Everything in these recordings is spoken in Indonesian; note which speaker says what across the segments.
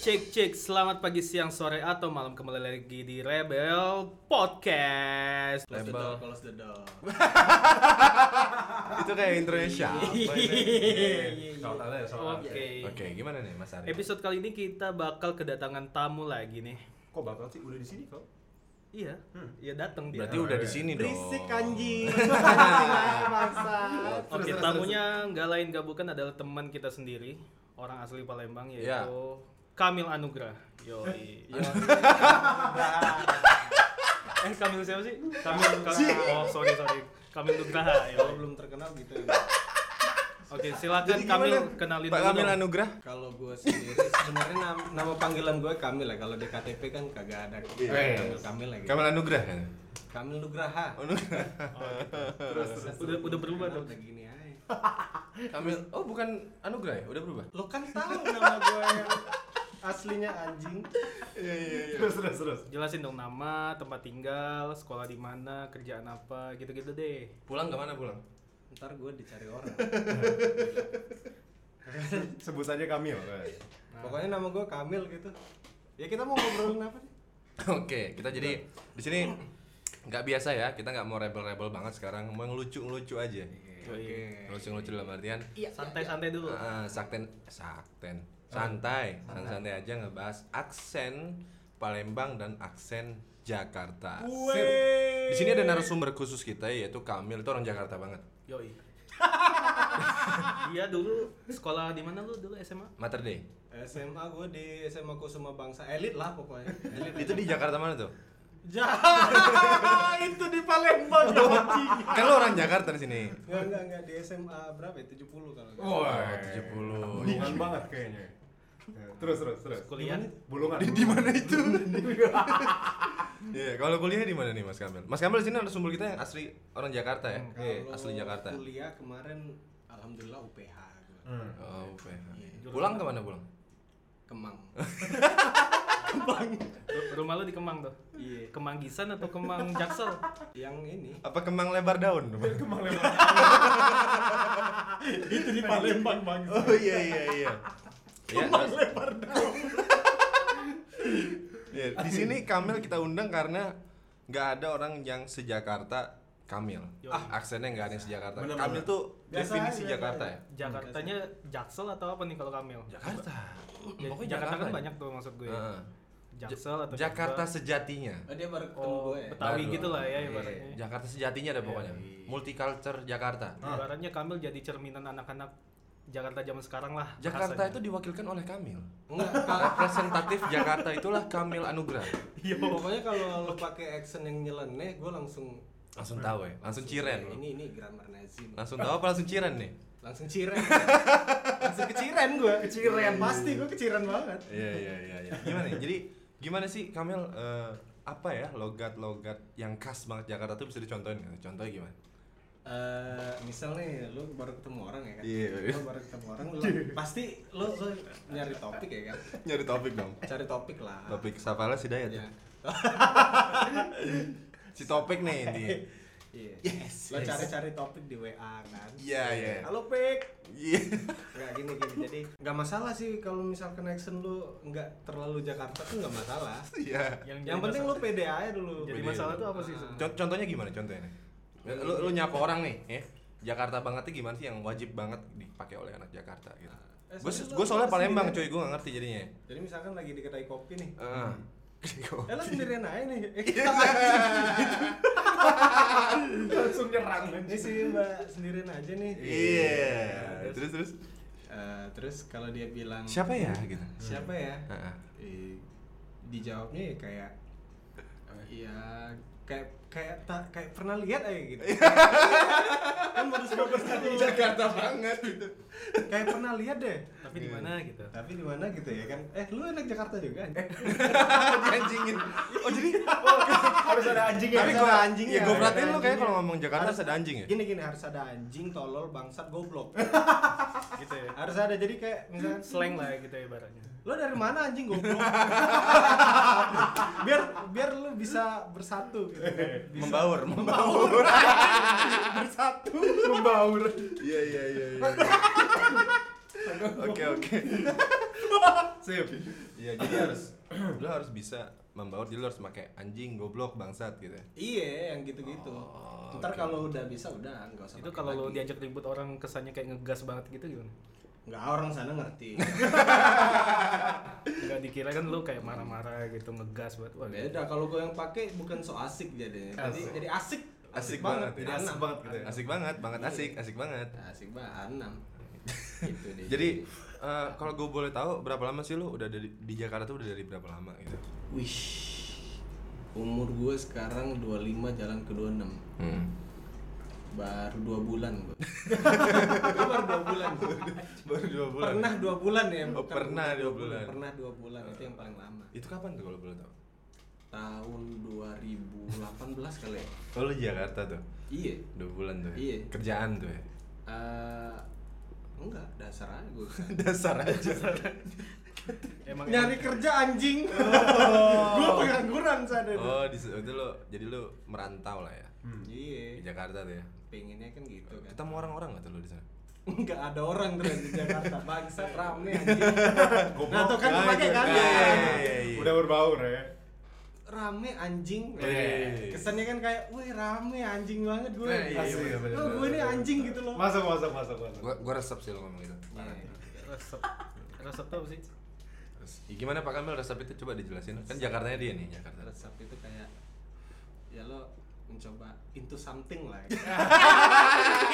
Speaker 1: Cek cek, selamat pagi, siang, sore, atau malam kembali lagi di Rebel Podcast
Speaker 2: Close the door,
Speaker 1: Rebel
Speaker 2: close the door.
Speaker 3: Itu kayak intronya siapa
Speaker 1: Iya.
Speaker 3: Soal tanda ya, soal tanda.
Speaker 1: Oke.
Speaker 3: Oke, gimana nih Mas Ari?
Speaker 1: Episode kali ini kita bakal kedatangan tamu lagi nih
Speaker 4: Kok bakal sih udah di sini kok?
Speaker 1: Iya, iya datang dia
Speaker 3: Berarti udah di sini dong.
Speaker 4: Berisik anjing. Masa.
Speaker 1: Oke, tamunya nggak lain nggak bukan adalah teman kita sendiri Orang asli Palembang yaitu
Speaker 3: Iya.
Speaker 1: Kamil Anugrah Yoi Eh Kamil siapa sih? Kamil, Kamil. Oh sorry sorry Kamil Nugraha
Speaker 4: Kalau
Speaker 1: yoi.
Speaker 4: belum terkenal gitu ya.
Speaker 1: Oke silakan Kamil kenalin
Speaker 3: Pak
Speaker 1: dulu
Speaker 3: Kamil
Speaker 1: dong.
Speaker 3: Anugrah?
Speaker 4: Kalau gue sendiri sebenarnya nam- nama panggilan gue Kamil ya. Kalau di KTP kan kagak ada Kamil Kamil lagi.
Speaker 3: Iya. Kamil Oh, Anugrah kan?
Speaker 4: Kamil Nugraha.
Speaker 1: Udah udah
Speaker 3: iya,
Speaker 1: berubah dong. gitu.
Speaker 4: Udah gini aja.
Speaker 3: Kamil, oh bukan Anugrah ya? Udah berubah?
Speaker 4: Lo kan tahu nama gue yang aslinya anjing.
Speaker 3: Iya, iya, iya Terus, terus, terus
Speaker 1: Jelasin dong nama, tempat tinggal, sekolah di mana, kerjaan apa, gitu-gitu deh.
Speaker 3: Pulang ke mana pulang?
Speaker 4: Ntar gue dicari orang.
Speaker 3: Sebut saja
Speaker 5: ya,
Speaker 3: Kamil Nah.
Speaker 4: Pokoknya nama gue Kamil gitu. Ya kita mau ngobrolin apa nih?
Speaker 3: Oke, kita jadi di sini nggak biasa ya, kita nggak mau rebel-rebel banget sekarang, mau ngelucu-ngelucu aja.
Speaker 1: Iya.
Speaker 3: Iya, Ngelucu-ngelucu dalam artian
Speaker 1: Santai-santai dulu.
Speaker 3: Ah, sakten sakten santai santai aja ngebahas aksen Palembang dan aksen Jakarta. Sip. Di sini ada narasumber khusus kita yaitu Kamil itu orang Jakarta banget.
Speaker 1: Yoi. Dia dulu sekolah di mana lu dulu SMA?
Speaker 3: Mater Dei.
Speaker 4: SMA gue di SMA Kusuma Bangsa elit lah pokoknya.
Speaker 3: Itu di Jakarta mana tuh?
Speaker 4: Jahat itu di Palembang anjing.
Speaker 3: Kan lo orang Jakarta di sini.
Speaker 4: Enggak enggak enggak di SMA berapa ya? 70 kalau enggak.
Speaker 5: Oh,
Speaker 3: Wah, 70.
Speaker 5: Bulungan banget kayaknya. Ya, Terus terus terus.
Speaker 1: Kuliah.
Speaker 5: Bulungan.
Speaker 3: Di mana itu? Iya, kalau kuliah di mana nih Mas Kamil? Mas Kamil di sini narasumber kita yang asli orang Jakarta ya? Iya,
Speaker 4: Kalau
Speaker 3: asli Jakarta.
Speaker 4: Kuliah kemarin alhamdulillah UPH gua.
Speaker 5: Hmm.
Speaker 3: Oh, UPH. Pulang ke mana pulang?
Speaker 4: Kemang.
Speaker 1: Ru- Rumah lu di Kemang tuh.
Speaker 4: Iya.
Speaker 1: Kemang Gisan atau Kemang Jaksel?
Speaker 4: Yang ini
Speaker 3: Apa kemang lebar daun?
Speaker 5: Kemang lewat. Itu di Palembang bang.
Speaker 3: Oh iya iya iya. Kemang lebar ya, di sini Kamil kita undang karena nggak ada orang yang sejakarta Kamil. Ah, aksennya nggak ada yang sejakarta.
Speaker 5: Bener,
Speaker 3: Kamil tuh
Speaker 4: Biasa
Speaker 3: definisi
Speaker 4: aja,
Speaker 3: Jakarta ya.
Speaker 4: biasa
Speaker 1: Jakartanya Jaksel atau apa nih kalau Kamil?
Speaker 3: Jakarta.
Speaker 1: Ya,
Speaker 3: Pokoknya
Speaker 1: Jakarta kan
Speaker 3: ya.
Speaker 1: banyak tuh maksud gue.
Speaker 3: Heeh.
Speaker 1: Jaksel atau
Speaker 3: Jakarta
Speaker 1: Jogja.
Speaker 3: sejatinya.
Speaker 4: Oh, dia baru ketemu
Speaker 1: Oh,
Speaker 4: gue ya.
Speaker 1: Betawi. Tawi
Speaker 3: Baru.
Speaker 1: gitu lah ya,
Speaker 3: Iya,
Speaker 1: ibaratnya.
Speaker 3: Jakarta sejatinya ada pokoknya. Multiculture Jakarta.
Speaker 1: Ibaratnya Kamil jadi cerminan anak-anak Jakarta zaman sekarang lah.
Speaker 3: Jakarta itu diwakilkan oleh Kamil.
Speaker 4: Enggak. kalau-
Speaker 3: Representatif Jakarta itulah Kamil Anugrah.
Speaker 4: Iya, Pokoknya kalau lu pakai accent yang nyeleneh, gue langsung
Speaker 3: Langsung tahu ya, langsung
Speaker 4: Iya,
Speaker 3: ciren.
Speaker 4: Ini ini grammar Nazi. nih.
Speaker 3: Langsung tahu apa langsung ciren nih?
Speaker 4: Langsung ciren. langsung keciren gue. Keciren
Speaker 3: Hmm.
Speaker 4: pasti gue keciren banget.
Speaker 3: Iya iya iya. iya. Gimana? ya? Jadi gimana sih Kamil eh, apa ya logat-logat yang khas banget Jakarta tuh bisa dicontohin nggak? Contohnya gimana?
Speaker 4: Eh, misal nih lu baru ketemu orang ya kan
Speaker 3: Iya.
Speaker 4: lu baru ketemu orang lu pasti lu, lu nyari topik ya kan
Speaker 3: Nyari topik dong. Iya.
Speaker 4: cari topik lah
Speaker 3: Topik Safala si Dayat.
Speaker 4: ya
Speaker 3: Si topik nih ini.
Speaker 4: iya
Speaker 3: Yes,
Speaker 4: lo
Speaker 3: yes.
Speaker 4: cari-cari topik di WA kan
Speaker 3: Iya iya.
Speaker 4: halo pik
Speaker 3: Iya.
Speaker 4: nggak gini gini jadi nggak masalah sih kalau misal connection lu nggak terlalu Jakarta tuh nggak masalah
Speaker 3: Iya.
Speaker 4: yang penting lu pede aja dulu
Speaker 1: jadi
Speaker 3: Pede
Speaker 1: masalah
Speaker 3: dulu.
Speaker 1: tuh apa sih?
Speaker 4: Ah.
Speaker 3: Con- Contohnya gimana? Contohnya nih. Lu lu nyapa orang nih, ya. Jakarta banget tuh gimana sih yang wajib banget dipakai oleh anak Jakarta gitu.
Speaker 4: Eh,
Speaker 3: Gue
Speaker 4: soalnya lu-
Speaker 3: gue soalnya
Speaker 4: lu
Speaker 3: Palembang
Speaker 4: sendiri.
Speaker 3: cuy, gue gak ngerti jadinya. Ah.
Speaker 4: jadi misalkan lagi di kedai kopi nih
Speaker 3: Heeh. Oh.
Speaker 4: eh lo sendirian aja nih Eh,
Speaker 5: Langsung nyerang.
Speaker 4: ini sih mbak sendirian aja nih
Speaker 3: Iya. Terus terus
Speaker 4: Eh, terus kalau dia bilang
Speaker 3: siapa ya gitu.
Speaker 4: siapa ya
Speaker 3: Heeh.
Speaker 4: Eh, dijawabnya ya kayak ya kayak kayak tak kayak pernah lihat aja gitu kan modus modus tadi
Speaker 3: Jakarta banget gitu.
Speaker 4: kayak pernah lihat deh
Speaker 1: Tapi di mana gitu?
Speaker 4: tapi di mana gitu ya kan eh lu anak Jakarta juga
Speaker 3: Anjingin. Oh jadi
Speaker 5: Harus ada anjing ya.
Speaker 3: tapi
Speaker 4: ada
Speaker 3: gua anjing
Speaker 4: anjingnya,
Speaker 3: ya. Gua
Speaker 4: ada
Speaker 3: perhatiin lu kayak
Speaker 4: anjingnya.
Speaker 3: kalau ngomong Jakarta
Speaker 4: Harus-
Speaker 3: ada anjing ya.
Speaker 4: gini gini harus ada anjing tolol bangsat goblok
Speaker 1: gitu ya.
Speaker 4: harus ada jadi kayak misalkan
Speaker 1: Slang lah ya gitu ya ibaratnya.
Speaker 4: lo dari mana anjing goblok biar biar lu bisa bersatu gitu kan. Bisa
Speaker 3: Membaur, membaur.
Speaker 4: bersatu membaur
Speaker 3: Iya iya iya iya. Oke oke.
Speaker 4: Sip.
Speaker 3: Iya, jadi harus lu harus bisa membaur, jadi lu harus pakai anjing, goblok, bangsat gitu.
Speaker 4: Iya, yang gitu-gitu.
Speaker 3: Oh,
Speaker 4: Ntar
Speaker 3: oke.
Speaker 4: kalau udah bisa udah nggak usah.
Speaker 1: Itu
Speaker 4: pakai
Speaker 1: kalau lo
Speaker 4: lagi.
Speaker 1: diajak ribut orang kesannya kayak ngegas banget gitu gimana?
Speaker 4: nggak orang sana ngerti.
Speaker 1: Enggak dikira kan lo kayak marah-marah gitu ngegas banget. Wah,
Speaker 4: Beda kalau gue yang pakai bukan so asik jadinya. Jadi
Speaker 1: Asik.
Speaker 4: jadi asik.
Speaker 3: Asik banget, kan?
Speaker 4: Jadi asik banget.
Speaker 5: gitu ya.
Speaker 3: Asik banget, banget asik, asik banget.
Speaker 4: Asik banget. Anam. gitu deh.
Speaker 3: Jadi eh, kalau gue boleh tahu berapa lama sih lu udah dari di Jakarta tuh udah dari berapa lama gitu?
Speaker 4: wih. Umur gue sekarang 25 jalan ke 26. Baru 2 bulan gue. Gua baru 2 bulan.
Speaker 3: Baru dua bulan.
Speaker 4: Pernah 2 bulan ya.
Speaker 3: Oh,
Speaker 4: bukan
Speaker 3: pernah
Speaker 4: bukan
Speaker 3: dua
Speaker 4: dua
Speaker 3: bulan.
Speaker 4: Pernah 2 bulan itu yang paling lama.
Speaker 3: Itu kapan tuh kalau boleh tahu?
Speaker 4: Tahun 2018 kali ya.
Speaker 3: Oh lu di Jakarta tuh,
Speaker 4: Iya.
Speaker 3: dua bulan tuh. ya?
Speaker 4: Iya.
Speaker 3: Kerjaan tuh ya.
Speaker 4: Eh enggak dasar aja gue
Speaker 3: Dasar aja.
Speaker 1: Emang
Speaker 4: nyari kerja anjing gue pengangguran sana deh.
Speaker 3: oh, di itu lu jadi lu merantau lah ya.
Speaker 5: Hmm.
Speaker 3: Di
Speaker 4: iya
Speaker 3: Jakarta tuh ya.
Speaker 4: pengennya kan gitu kan
Speaker 3: Ketemu orang-orang gak tuh lu di sana?
Speaker 4: nggak ada orang terus di Jakarta bangsa rame anjing nah tuh kan
Speaker 3: Nah,
Speaker 4: kepake
Speaker 3: itu
Speaker 4: kan
Speaker 3: kan.
Speaker 5: Udah berbaur ya.
Speaker 4: rame anjing
Speaker 3: Iya.
Speaker 4: kesannya kan kayak wih rame anjing banget gue
Speaker 3: Iya, iya,
Speaker 5: iya, bener,
Speaker 4: oh, gue
Speaker 3: bener,
Speaker 4: ini
Speaker 3: bener.
Speaker 4: anjing gitu loh
Speaker 5: Masuk masuk masuk masuk.
Speaker 3: Gua gua resep sih lu ngomong gitu. Parah.
Speaker 4: Iya.
Speaker 1: resep. Resep tuh apa sih?
Speaker 3: Terus, ya gimana Pak Kamil resep itu coba dijelasin. Kan Jakartanya dia nih, Jakarta.
Speaker 4: resep itu kayak ya lo mencoba into something lah ya.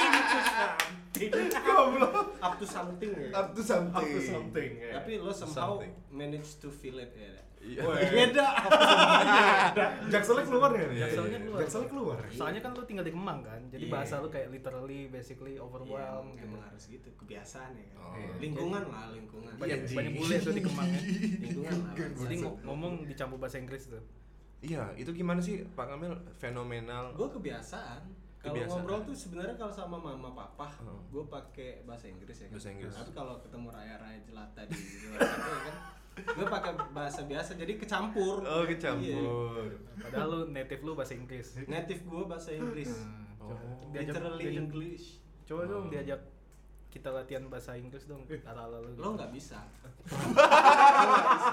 Speaker 4: into something up to something ya
Speaker 5: to something. Up to something. ya.
Speaker 4: tapi lo somehow
Speaker 3: Something.
Speaker 4: manage to feel it ya
Speaker 3: Iya.
Speaker 5: Weh.
Speaker 4: beda
Speaker 5: Ada. Jakselnya keluar ya? nih?
Speaker 1: Jakselnya keluar.
Speaker 5: Jakselnya keluar.
Speaker 1: Soalnya kan lu tinggal di Kemang kan, jadi
Speaker 4: Iya.
Speaker 1: bahasa lu kayak literally, basically,
Speaker 4: Iya,
Speaker 1: overwhelmed gitu.
Speaker 4: emang harus gitu kebiasaan ya kan
Speaker 3: Oh.
Speaker 4: lingkungan lah lingkungan
Speaker 1: Banyak,
Speaker 5: Iya,
Speaker 1: banyak
Speaker 5: Ji.
Speaker 1: bule tuh di Kemang ya.
Speaker 4: iya. lingkungan lah
Speaker 1: Jadi ngo- ngomong dicampur bahasa Inggris tuh.
Speaker 3: Iya, itu gimana sih Pak Kamil fenomenal?
Speaker 4: gue kebiasaan kalau
Speaker 3: Kebiasaan.
Speaker 4: ngobrol tuh sebenarnya kalau sama mama papa
Speaker 3: Heeh.
Speaker 4: gue pakai bahasa Inggris ya kan?
Speaker 3: Bahasa Inggris.
Speaker 4: tapi kalau ketemu raya-raya jelata di luar sana ya kan gue pakai bahasa biasa jadi kecampur
Speaker 3: Oh, kecampur.
Speaker 1: Padahal lu native lu bahasa Inggris.
Speaker 4: Iya. native gue bahasa Inggris
Speaker 3: Oh.
Speaker 1: Diajak-
Speaker 4: literally
Speaker 1: diajak-
Speaker 4: English
Speaker 1: Coba dong diajak kita latihan bahasa Inggris dong.
Speaker 3: Eh.
Speaker 1: Ala-ala lu. gitu.
Speaker 4: lo nggak bisa Lo nggak bisa.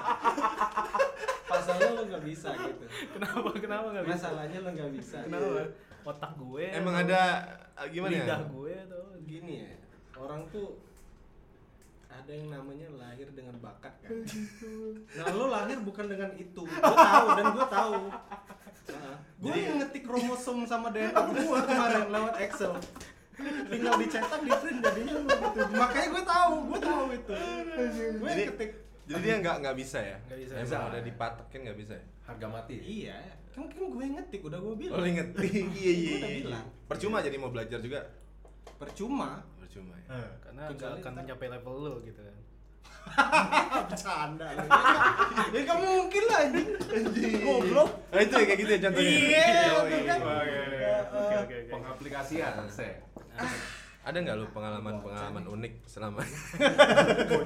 Speaker 4: pasalnya lo nggak bisa gitu
Speaker 1: Kenapa kenapa nggak bisa?
Speaker 4: masalahnya lo nggak bisa
Speaker 1: Kenapa? Otak gue.
Speaker 3: Emang
Speaker 1: atau
Speaker 3: ada eh, gimana ya?
Speaker 1: Lidah gue tuh.
Speaker 4: gini ya orang tuh ada yang namanya lahir dengan bakat kan nah lo lahir bukan dengan itu gue tahu dan gue tahu gue yang ngetik kromosom sama DNA gue kemarin lewat Excel tinggal dicetak di print jadinya lo gitu makanya gue tahu gue tahu itu gue yang
Speaker 3: Jadi-
Speaker 4: ketik
Speaker 3: Jadi dia nggak nggak bisa ya?
Speaker 1: Nggak bisa.
Speaker 3: Emang
Speaker 1: Bisa.
Speaker 3: udah dipatakin nggak bisa ya?
Speaker 5: Harga mati.
Speaker 4: iya kan kan gue yang ngetik udah gue bilang
Speaker 3: Oh, lu inget. Iya, iya,
Speaker 4: Gua
Speaker 3: iya,
Speaker 4: udah
Speaker 3: iya.
Speaker 4: bilang.
Speaker 3: Percuma jadi mau belajar juga.
Speaker 4: percuma
Speaker 3: Percuma ya.
Speaker 5: Eh,
Speaker 1: Karena
Speaker 4: Kecuali
Speaker 1: nggak akan
Speaker 4: ntar-
Speaker 1: mencapai level lu gitu kan.
Speaker 4: ah bercanda lu. ya nggak mungkin lah anjing goblok
Speaker 3: Nah, itu ya kayak gitu ya contohnya.
Speaker 4: Iya,
Speaker 3: Yoi.
Speaker 4: itu kan.
Speaker 5: Oke, oke, oke, oke.
Speaker 2: Pengaplikasian saya.
Speaker 3: Ada nggak lu pengalaman-pengalaman unik selama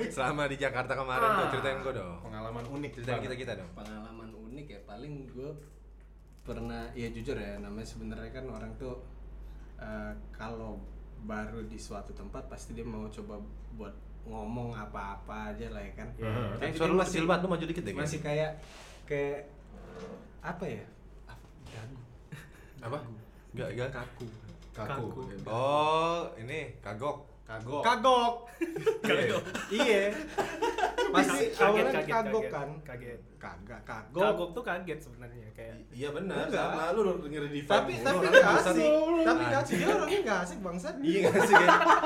Speaker 3: selama di Jakarta kemarin tuh ceritain gua dong.
Speaker 5: Pengalaman unik
Speaker 3: Ceritain
Speaker 5: banget.
Speaker 3: kita gitu. kita dong.
Speaker 4: pengalaman unik ya paling gue pernah ya jujur ya namanya sebenarnya kan orang tuh eh, kalau baru di suatu tempat pasti dia mau coba buat ngomong apa-apa aja lah ya kan
Speaker 1: Iya,
Speaker 3: Eh,
Speaker 4: Tapi
Speaker 3: suara lu
Speaker 4: dia masih-
Speaker 3: kecil banget, lu maju
Speaker 1: gitu
Speaker 3: dikit deh.
Speaker 1: ya?
Speaker 3: Gil.
Speaker 4: masih kayak kayak apa ya Apa- dagu
Speaker 3: apa? Gak gak.
Speaker 4: kaku
Speaker 5: Kaku.
Speaker 1: Kaku.
Speaker 3: Oh, ini kagok.
Speaker 1: Oh.
Speaker 5: Kagok.
Speaker 4: kagok
Speaker 3: Kagok.
Speaker 4: iya pasti
Speaker 1: Kaget,
Speaker 4: awalnya
Speaker 1: kaget, kaget,
Speaker 4: kagok kan
Speaker 1: Kaget.
Speaker 4: kagak
Speaker 1: Kagok tuh kaget sebenarnya kayak.
Speaker 3: Iya benar.
Speaker 4: Enggak.
Speaker 3: Sama lu denger di
Speaker 4: tapi
Speaker 3: fan
Speaker 4: tapi
Speaker 3: mulu,
Speaker 4: gak
Speaker 3: orang
Speaker 4: asik tapi gak asik
Speaker 3: Anjing.
Speaker 4: dia orangnya gak asik bangsat
Speaker 3: Iya gak sih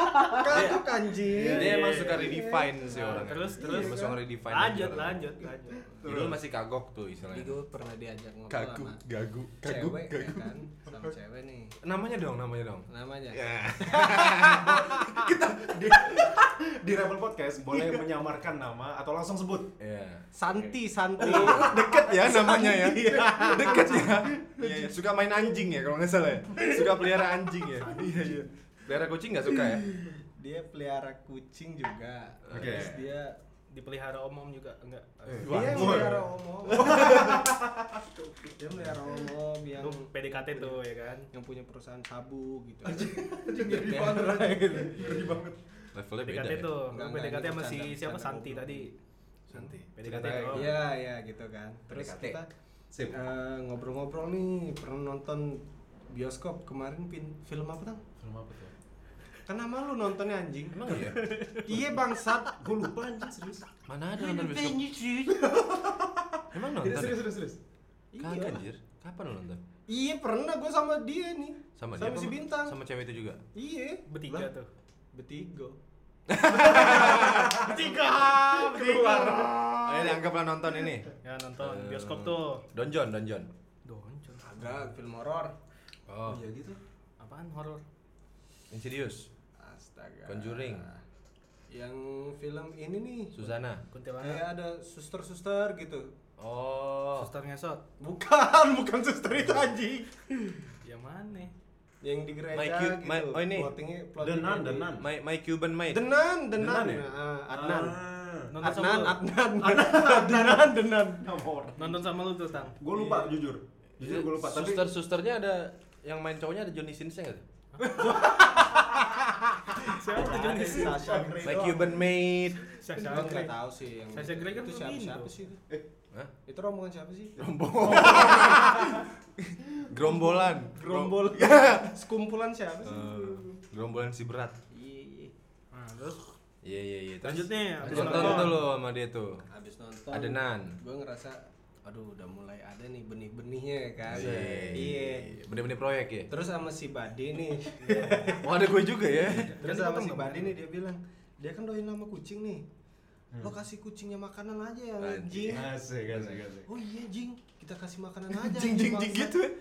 Speaker 3: kayak
Speaker 4: kagok anjing
Speaker 3: dia emang
Speaker 1: Iya.
Speaker 3: suka redefine sih orang.
Speaker 1: Terus
Speaker 4: Iya,
Speaker 1: terus.
Speaker 3: emang suka redefine.
Speaker 1: Lanjut
Speaker 3: orang.
Speaker 1: lanjut lanjut.
Speaker 3: Jadi lu masih kagok tuh istilahnya.
Speaker 4: jadi gue pernah diajak ngobrol
Speaker 3: Gagu,
Speaker 4: sama
Speaker 3: gagu, gagu,
Speaker 4: cewek ya
Speaker 3: gagu.
Speaker 4: kan sama cewek nih
Speaker 3: Namanya dong, namanya dong.
Speaker 4: namanya
Speaker 3: Ya.
Speaker 5: Di, di Rebel Podcast boleh menyamarkan nama atau langsung sebut.
Speaker 3: Iya.
Speaker 4: Santi Santi
Speaker 3: Deket ya namanya ya. Deket ya. Iya, iya. Suka main anjing ya kalau nggak salah ya. Suka pelihara anjing ya. Iya iya. Pelihara kucing nggak suka ya?
Speaker 4: dia pelihara kucing juga
Speaker 3: Oke.
Speaker 4: terus dia
Speaker 1: Dipelihara omom juga enggak.
Speaker 3: Eh.
Speaker 5: Wah,
Speaker 4: dia yang
Speaker 5: boy.
Speaker 4: melihara omong dia melihara omong yang
Speaker 1: Lu PDKT tuh ya kan.
Speaker 4: yang punya perusahaan sabu gitu
Speaker 5: Jadi Iya, banget. Jadi banget.
Speaker 3: Levelnya beda.
Speaker 1: PDKT
Speaker 3: ya?
Speaker 1: tuh,
Speaker 4: Enggak,
Speaker 1: Lu
Speaker 4: enggak,
Speaker 1: PDKT sama si
Speaker 4: ini bercanda,
Speaker 1: siapa
Speaker 4: bercanda
Speaker 1: Santi
Speaker 4: goblok.
Speaker 1: tadi.
Speaker 3: Santi.
Speaker 1: PDKT
Speaker 3: Santai.
Speaker 1: doang.
Speaker 4: Iya, iya gitu kan. Terus
Speaker 3: PDKT.
Speaker 4: kita
Speaker 3: Sip.
Speaker 4: eh, ngobrol-ngobrol nih pernah nonton bioskop kemarin pin- film apa tang?
Speaker 5: Film apa tuh?
Speaker 4: Kenapa lu nontonnya anjing?
Speaker 3: Emang iya?
Speaker 4: iya bangsat.
Speaker 5: Gue lupa anjing serius.
Speaker 3: Mana ada nonton bioskop? Emang nonton?
Speaker 5: Iya,
Speaker 3: ya?
Speaker 5: serius serius serius.
Speaker 3: Kagak
Speaker 4: Iya.
Speaker 3: anjir. Kapan lu nonton?
Speaker 4: Iya pernah gue sama dia nih.
Speaker 3: Sama, dia
Speaker 4: sama
Speaker 3: apa
Speaker 4: si
Speaker 3: sama-
Speaker 4: bintang.
Speaker 3: Sama cewek itu juga.
Speaker 4: Iya.
Speaker 1: Bertiga
Speaker 4: Lah,
Speaker 1: tuh.
Speaker 4: Bertiga.
Speaker 1: Bertiga,
Speaker 3: Keluar. Ayo dianggaplah nonton ini.
Speaker 1: Ya nonton bioskop tuh. kan,
Speaker 3: Donjon, donjon.
Speaker 1: Doncon.
Speaker 4: Agak film horor.
Speaker 3: Oh,
Speaker 4: Iya gitu.
Speaker 1: Apaan horor?
Speaker 3: Insidious.
Speaker 4: Astaga.
Speaker 3: Conjuring.
Speaker 4: Yang film ini nih.
Speaker 3: Susana.
Speaker 1: Kuntilanak.
Speaker 4: Kayak ada suster-suster gitu.
Speaker 3: Oh.
Speaker 1: Suster ngesot.
Speaker 4: Bukan, bukan suster itu anjing.
Speaker 1: Yang Ya, mana?
Speaker 4: Yang di gereja
Speaker 3: My cute-
Speaker 4: gitu.
Speaker 3: my- oh ini.
Speaker 4: Plottingnya,
Speaker 5: The
Speaker 4: plottingnya
Speaker 5: Nun,
Speaker 4: di-
Speaker 5: The Nun.
Speaker 3: My my Cuban maid.
Speaker 4: The Nun, The
Speaker 5: The Nun
Speaker 4: Nun.
Speaker 5: ya?
Speaker 4: Ah, Adnan.
Speaker 5: Ah.
Speaker 1: Nonton sama
Speaker 4: Adnan,
Speaker 1: lu.
Speaker 4: Adnan, Adnan, The Nun.
Speaker 5: Nomor.
Speaker 1: Nonton sama lu tuh, Tang.
Speaker 5: Gue lupa jujur. Jujur gue lupa. Tapi
Speaker 3: Suster susternya ada yang main cowoknya ada Johnny Sins nggak? tuh?
Speaker 1: Siapa tuh Johnny Sins?
Speaker 4: Sasha Grey.
Speaker 3: My Cuban maid.
Speaker 1: Sasha
Speaker 4: Gue
Speaker 1: Grey.
Speaker 4: nggak tahu sih yang
Speaker 1: Sasha Grey kan
Speaker 4: itu
Speaker 1: film
Speaker 4: siapa,
Speaker 1: Indo.
Speaker 4: siapa sih itu?
Speaker 3: Hah?
Speaker 4: Itu rombongan siapa sih?
Speaker 3: Gerombolan.
Speaker 4: Gerombol. Ya, Sekumpulan siapa sih?
Speaker 3: Eh, gerombolan si berat.
Speaker 4: Iya, iya.
Speaker 1: Nah, terus
Speaker 3: Iya iya iya. Terus
Speaker 1: lanjut nih. abis
Speaker 3: Nonton
Speaker 1: nonton.
Speaker 3: itu lo sama dia tuh.
Speaker 4: Habis nonton.
Speaker 3: Ada Nan.
Speaker 4: Gue ngerasa aduh udah mulai ada nih benih-benihnya ya kan.
Speaker 3: Iya. Bener-bener proyek ya.
Speaker 4: Terus sama si Bade nih.
Speaker 3: Wah ada gue juga ya.
Speaker 4: Terus
Speaker 1: Kan
Speaker 4: sama
Speaker 1: dipotong
Speaker 4: si
Speaker 1: dong.
Speaker 4: Bade nih dia bilang, dia kan doain nama kucing nih. Lo kasih kucingnya makanan
Speaker 3: Hmm.
Speaker 4: aja, ya,
Speaker 3: Anjing. Nah,
Speaker 4: anjing.
Speaker 5: asik asik asik.
Speaker 4: Oh iya, jing. Kita kasih makanan aja.
Speaker 3: Jing jing jing gitu. ya.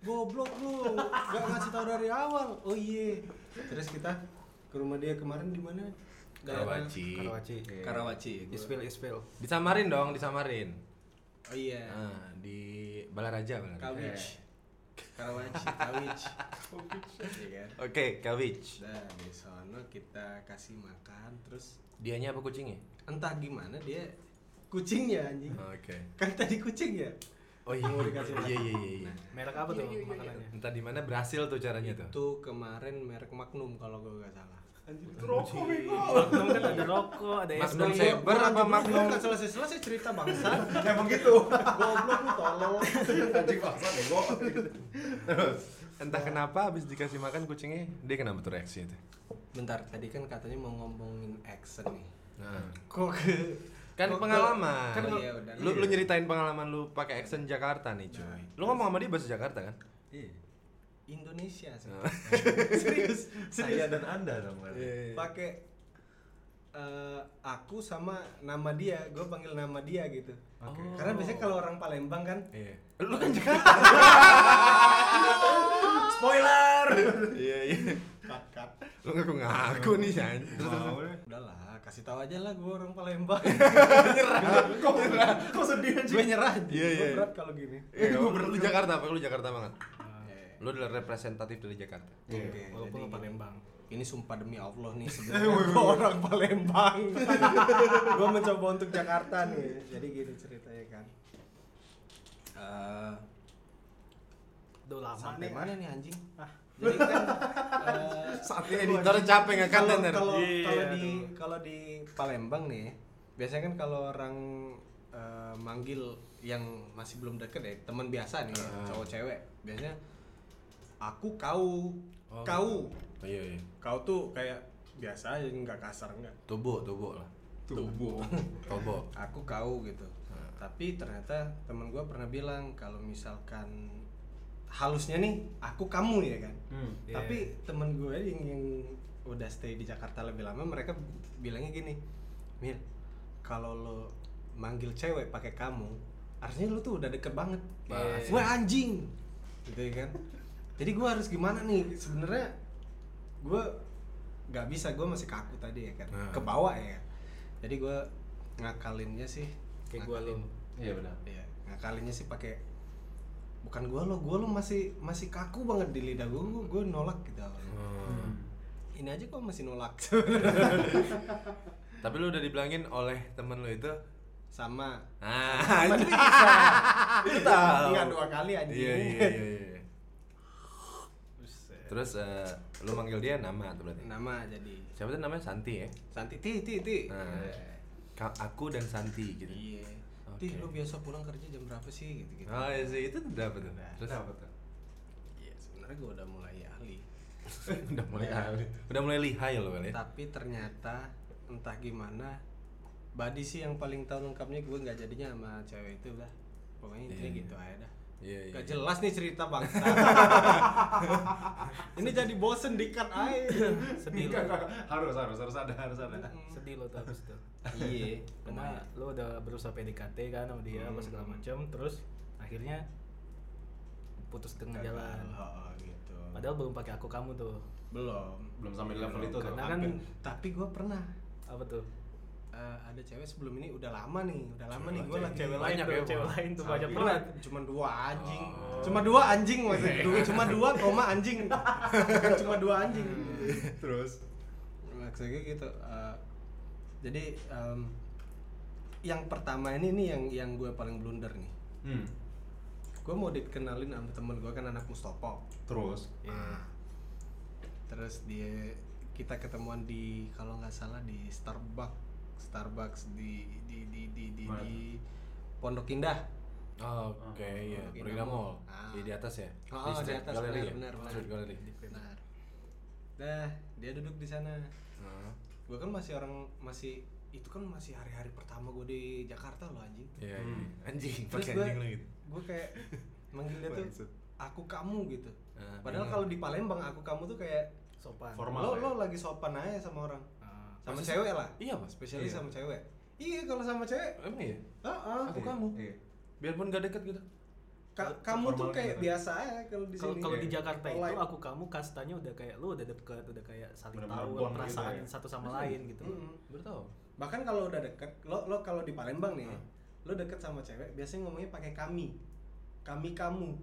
Speaker 4: Goblok lu. Gak ngasih tahu dari awal. Oh iya. Terus kita ke rumah dia kemarin di mana? Daerah-
Speaker 3: Karawaci.
Speaker 1: Karawaci.
Speaker 4: Karawaci.
Speaker 3: Iya.
Speaker 4: ya, gua.
Speaker 1: Ispil, ispil.
Speaker 3: Disamarin dong, disamarin.
Speaker 4: Oh iya.
Speaker 3: Nah, di Balaraja, Balaraja.
Speaker 4: Kawich. Karawaci, Kawich. Iya kan?
Speaker 3: Oke, Kawich.
Speaker 4: Nah, di sono kita kasih makan terus
Speaker 3: Dianya apa kucingnya?
Speaker 4: entah gimana dia kucingnya anjing.
Speaker 3: Oke.
Speaker 4: Kan tadi kucing ya?
Speaker 3: Oh Ah. iya,
Speaker 4: Mau dikasih
Speaker 3: iya iya iya. iya.
Speaker 1: Merek apa tuh makanannya?
Speaker 3: Entah di mana berhasil tuh caranya tuh.
Speaker 4: Itu kemarin merek Magnum kalau gue gak salah.
Speaker 5: Anjir itu rokok bego.
Speaker 1: Magnum kan ada rokok, ada es
Speaker 3: Mas Bang
Speaker 4: Iya,
Speaker 1: dawet.
Speaker 3: Saber apa Magnum?
Speaker 4: Gak selesai-selesai cerita bangsa.
Speaker 5: Emang gitu.
Speaker 4: Goblok lu tolol.
Speaker 5: Anjing paksa bego.
Speaker 3: Terus entah kenapa habis dikasih makan kucingnya, dia kenapa tuh reaksinya tuh?
Speaker 4: Bentar, tadi kan katanya mau ngomongin action nih.
Speaker 3: Nah,
Speaker 4: Kok ke
Speaker 3: kan
Speaker 4: Kok-
Speaker 3: pengalaman.
Speaker 4: kan-
Speaker 3: lu,
Speaker 4: Iya, udah.
Speaker 3: lu, lu nyeritain pengalaman lu pakai action Jakarta nih, cuy.
Speaker 4: Nah.
Speaker 3: lu ngomong sama dia bahasa Jakarta kan?
Speaker 4: Iya. Indonesia sih.
Speaker 3: Nah.
Speaker 4: serius, serius.
Speaker 5: Saya dan Anda dong. kan?
Speaker 4: Pakai eh, aku sama nama dia, gue panggil nama dia gitu.
Speaker 5: Oke.
Speaker 4: Karena biasanya kalau orang Palembang kan
Speaker 3: Iya. Lu kan Jakarta.
Speaker 5: Ah,
Speaker 4: spoiler.
Speaker 3: Iya iya. Lu ngaku ngaku nih, San. Terus terus.
Speaker 5: Mau deh.
Speaker 4: Udahlah, kasih tahu aja lah gue orang Palembang.
Speaker 5: Kok kok sedih
Speaker 4: gue nyerah.
Speaker 3: Iya,
Speaker 4: Gua
Speaker 3: iya.
Speaker 4: berat kalau gini.
Speaker 3: Eh, lu lu Jakarta apa? Lu Jakarta banget.
Speaker 4: Eh,
Speaker 3: Lu adalah representatif dari Jakarta.
Speaker 4: Oke,
Speaker 5: Iya,
Speaker 1: Walaupun lu
Speaker 4: jadi
Speaker 1: Palembang.
Speaker 4: ini sumpah demi Allah nih sebenarnya gue orang Palembang. gue mencoba untuk Jakarta nih. Jadi gini ceritanya kan. Eh,
Speaker 1: Duh lama
Speaker 4: sampai
Speaker 1: nih.
Speaker 4: mana nih ya. anjing? Jadi kan eh,
Speaker 3: Saatnya editor capek kan, ngangkat
Speaker 4: kalau
Speaker 3: ntar.
Speaker 4: kalau
Speaker 1: Iya,
Speaker 4: kalau di
Speaker 1: aduh.
Speaker 4: kalau di Palembang nih, biasanya kan kalau orang eh, manggil yang masih belum deket ya, teman biasa nih, cowok cewek, biasanya aku kau,
Speaker 3: Oh,
Speaker 4: kau,
Speaker 3: Oh, Iya iya.
Speaker 4: kau tuh kayak biasa aja nggak kasar nggak
Speaker 3: Tubuh, tubuh lah.
Speaker 4: tubuh
Speaker 3: Tubuh.
Speaker 4: aku kau gitu tapi ternyata temen gue pernah bilang kalau misalkan halusnya nih aku kamu ya kan
Speaker 5: Hmm.
Speaker 1: Iya.
Speaker 4: tapi temen gue yang, yang udah stay di Jakarta lebih lama mereka bilangnya gini Mir kalau lo manggil cewek pakai kamu artinya lo tuh udah deket banget
Speaker 1: Iya.
Speaker 3: Bah,
Speaker 4: gue anjing gitu ya kan jadi gue harus gimana nih sebenarnya gue nggak bisa gue masih kaku tadi ya kan
Speaker 3: Nah.
Speaker 4: ke bawah ya jadi gue ngakalinnya sih
Speaker 1: Kayak gua lu.
Speaker 4: ngakalin-
Speaker 5: Iya benar.
Speaker 4: Iya, ngakalinnya sih pakai bukan gua lo, gua lo masih masih kaku banget di lidah gua, gua, gua nolak gitu awalnya.
Speaker 3: Hmm.
Speaker 4: Ini aja kok masih nolak.
Speaker 3: Tapi lu udah dibilangin oleh temen lu itu
Speaker 4: Sama.
Speaker 3: Ah, itu Itu tahu.
Speaker 4: Enggak dua kali aja.
Speaker 3: Iya iya iya. iya. Terus eh, lu manggil dia nama tuh berarti.
Speaker 4: Nama jadi
Speaker 3: Siapa tuh namanya Santi ya?
Speaker 4: Santi ti ti ti.
Speaker 3: Nah. Ka- aku dan Santi gitu.
Speaker 4: Iya.
Speaker 3: Oke.
Speaker 4: Tih, lu biasa pulang kerja jam berapa sih gitu-gitu.
Speaker 3: Oh iya sih, itu udah bener. Terus
Speaker 5: Kenapa tuh?
Speaker 4: Iya, sebenarnya gue udah mulai ahli.
Speaker 3: udah mulai
Speaker 4: Iya.
Speaker 3: udah mulai lihai loh Wel ya.
Speaker 4: Tapi ternyata entah gimana Badi sih yang paling tahu lengkapnya gue nggak jadinya sama cewek itu lah. Pokoknya intinya
Speaker 3: Iya.
Speaker 4: gitu aja dah.
Speaker 3: Iya iya.
Speaker 4: Gak jelas nih cerita bangsa. Ini jadi bosen dikat
Speaker 1: Iya,
Speaker 4: aja.
Speaker 1: sedih
Speaker 5: Enggak,
Speaker 1: lo
Speaker 5: enggak, enggak. harus harus harus ada harus ada.
Speaker 1: sedih lo tuh habis itu
Speaker 4: Iya.
Speaker 1: karena lo udah berusaha PDKT kan sama dia apa
Speaker 4: Hmm.
Speaker 1: segala macam terus akhirnya putus tengah jalan
Speaker 4: Oh, gitu.
Speaker 1: padahal belum pakai aku kamu tuh
Speaker 4: Belum.
Speaker 5: Belum sampai di level itu tuh.
Speaker 1: karena kan
Speaker 5: Hampir.
Speaker 4: Tapi gue pernah
Speaker 1: apa tuh
Speaker 4: eh, ada cewek sebelum ini udah lama nih, udah lama nih gue
Speaker 3: cewek-
Speaker 4: lagi cewek
Speaker 3: Banyak
Speaker 1: Tuh,
Speaker 3: ya,
Speaker 1: cewek
Speaker 3: Bang.
Speaker 1: lain tuh banyak
Speaker 4: Cuma,
Speaker 1: banget Oh. Iya.
Speaker 4: cuma dua anjing, cuma dua anjing maksudnya, Dua- cuma dua koma anjing, Bukan cuma dua anjing.
Speaker 1: Hmm.
Speaker 3: Terus
Speaker 4: Maksudnya gitu. eh, jadi em, yang pertama ini nih yang yang gue paling blunder nih.
Speaker 5: Hmm.
Speaker 4: Gue mau dikenalin sama temen gue kan anak Mustopo.
Speaker 5: Terus
Speaker 3: Iya.
Speaker 4: Terus dia kita ketemuan di kalau nggak salah di Starbucks, Starbucks di di di di di,
Speaker 5: Mana
Speaker 4: di Pondok Indah.
Speaker 3: Oke, iya.
Speaker 4: Oke,
Speaker 3: Perwira Mall.
Speaker 4: Mall. Oh, Ah.
Speaker 3: Di, di atas ya?
Speaker 4: Oh, di
Speaker 3: street
Speaker 4: atas,
Speaker 3: gallery ya?
Speaker 4: benar, benar, benar.
Speaker 3: Street gallery.
Speaker 4: Nah, dah dia duduk di sana.
Speaker 3: Ah,
Speaker 4: gue kan masih orang masih itu kan masih hari-hari pertama gue di Jakarta loh anjing
Speaker 3: Iya, iya. Anjing,
Speaker 4: Hmm. terus
Speaker 3: pakai
Speaker 4: gue
Speaker 3: anjing lagi.
Speaker 4: gue kayak manggil dia tuh
Speaker 3: Bangsat.
Speaker 4: aku kamu gitu
Speaker 3: Ah,
Speaker 4: padahal
Speaker 3: benar.
Speaker 4: kalau di Palembang aku kamu tuh kayak
Speaker 1: sopan
Speaker 5: Formal
Speaker 4: lo
Speaker 5: ya?
Speaker 4: lo lagi sopan aja sama orang
Speaker 1: Ah.
Speaker 4: sama
Speaker 3: Masa sih?
Speaker 4: cewek lah
Speaker 3: Iya, Mas.
Speaker 4: spesialis
Speaker 3: Iya.
Speaker 4: sama cewek iya kalau sama cewek
Speaker 3: Emang ya?
Speaker 4: ah ah,
Speaker 3: Aku kamu.
Speaker 5: Iya.
Speaker 3: Biarpun gak deket gitu.
Speaker 4: Ka- kamu tuh
Speaker 5: Formal
Speaker 4: kayak
Speaker 5: gitu.
Speaker 4: biasa aja kalau di
Speaker 1: Kalau
Speaker 4: sini
Speaker 1: kalau di
Speaker 4: Iya.
Speaker 1: Jakarta
Speaker 4: Online.
Speaker 1: itu aku kamu kastanya udah kayak lu udah deket, udah kayak saling
Speaker 5: Bener-bener
Speaker 1: tahu
Speaker 5: bond gitu
Speaker 1: perasaan
Speaker 5: ya.
Speaker 1: satu sama lain gitu.
Speaker 4: Mm-mm.
Speaker 3: Baru tau.
Speaker 4: bahkan kalau udah deket lo lo kalau di Palembang nih lo deket sama cewek biasanya ngomongnya pakai kami kami kamu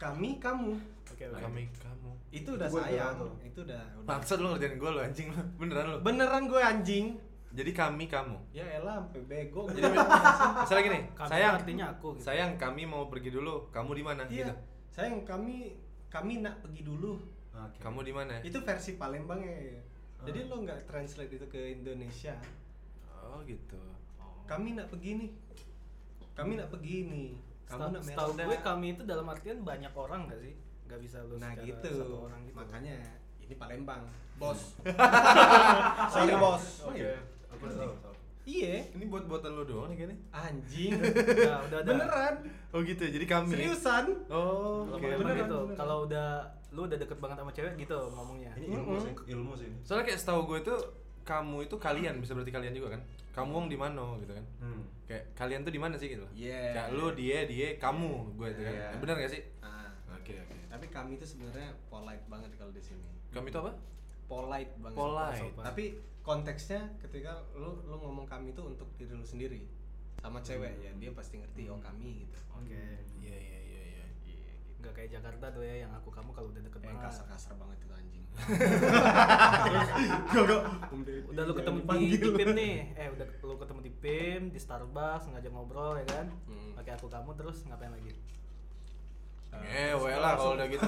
Speaker 4: kami kamu
Speaker 1: Oke oke.
Speaker 3: Kami kamu.
Speaker 4: itu udah
Speaker 5: Gua
Speaker 4: sayang
Speaker 5: doang.
Speaker 4: itu udah, udah.
Speaker 3: Maksud lu ngerjain gue lo anjing lo. Beneran lo.
Speaker 4: beneran gue anjing
Speaker 3: Jadi kami kamu.
Speaker 4: ya elah sampai bego gue.
Speaker 3: Jadi misalnya gini,
Speaker 1: Kami
Speaker 3: sayang
Speaker 1: artinya aku gitu.
Speaker 3: Sayang, kami mau pergi dulu. Kamu di mana?
Speaker 4: iya
Speaker 3: Gitu.
Speaker 4: sayang kami kami nak pergi dulu
Speaker 5: Oke.
Speaker 3: Kamu di mana?
Speaker 4: itu versi Palembang ya jadi lo nggak translate itu ke Indonesia
Speaker 3: Oh gitu.
Speaker 4: kami nak pergi nih kami nak pergi nih kamu
Speaker 1: Setahu-
Speaker 4: nak
Speaker 1: Setahu
Speaker 4: Merauda.
Speaker 1: gue kami itu dalam artian banyak orang gak sih? Gak bisa lu
Speaker 4: nah
Speaker 1: secara
Speaker 4: gitu.
Speaker 1: satu orang gitu.
Speaker 4: makanya ini Palembang bos sorry bos
Speaker 5: Oh iya. Aku udah tahu, tahu.
Speaker 4: iya
Speaker 3: Ini buat buatan lo doang nih kayaknya.
Speaker 4: anjing
Speaker 1: Nah, udah ada.
Speaker 4: beneran
Speaker 3: Oh gitu ya. Jadi kami.
Speaker 4: seriusan
Speaker 3: Oh,
Speaker 1: Kalau
Speaker 3: oke.
Speaker 1: Palembang
Speaker 4: Beneran,
Speaker 1: gitu,
Speaker 4: beneran.
Speaker 1: kalau udah lu udah deket banget sama cewek gitu ngomongnya.
Speaker 5: Ini ilmu
Speaker 4: Mm-mm.
Speaker 5: sih, ilmu sih. ini.
Speaker 3: Soalnya kayak setahu gue itu kamu itu kalian bisa berarti kalian juga kan? Kamu wong di mana gitu kan?
Speaker 5: Hmm.
Speaker 3: Kayak kalian tuh di mana sih gitu loh.
Speaker 4: Iya.
Speaker 3: Kayak lu, dia, dia, kamu, gue itu kan.
Speaker 5: Iya.
Speaker 3: Bener gak sih?
Speaker 4: Ah,
Speaker 3: Oke, oke.
Speaker 4: tapi kami itu sebenarnya polite banget kalau di sini
Speaker 3: Kamu itu apa?
Speaker 4: polite banget
Speaker 3: Polite.
Speaker 1: sopan.
Speaker 4: tapi konteksnya ketika lu lu ngomong kami itu untuk diri lu sendiri sama cewek ya dia pasti ngerti oh kami gitu
Speaker 1: Oke.
Speaker 3: Iya, iya, iya, iya.
Speaker 1: Gak kayak Jakarta tuh ya yang aku kamu kalau udah deket
Speaker 4: yang
Speaker 1: banget.
Speaker 4: kasar-kasar banget itu anjing
Speaker 1: Udah lu ketemu di, di PIM nih. Eh udah lu ketemu di PIM, di Starbucks, ngajak ngobrol ya kan.
Speaker 4: Hmm.
Speaker 1: Pakai aku kamu terus ngapain lagi?
Speaker 3: Eh, wae lah kalau udah gitu.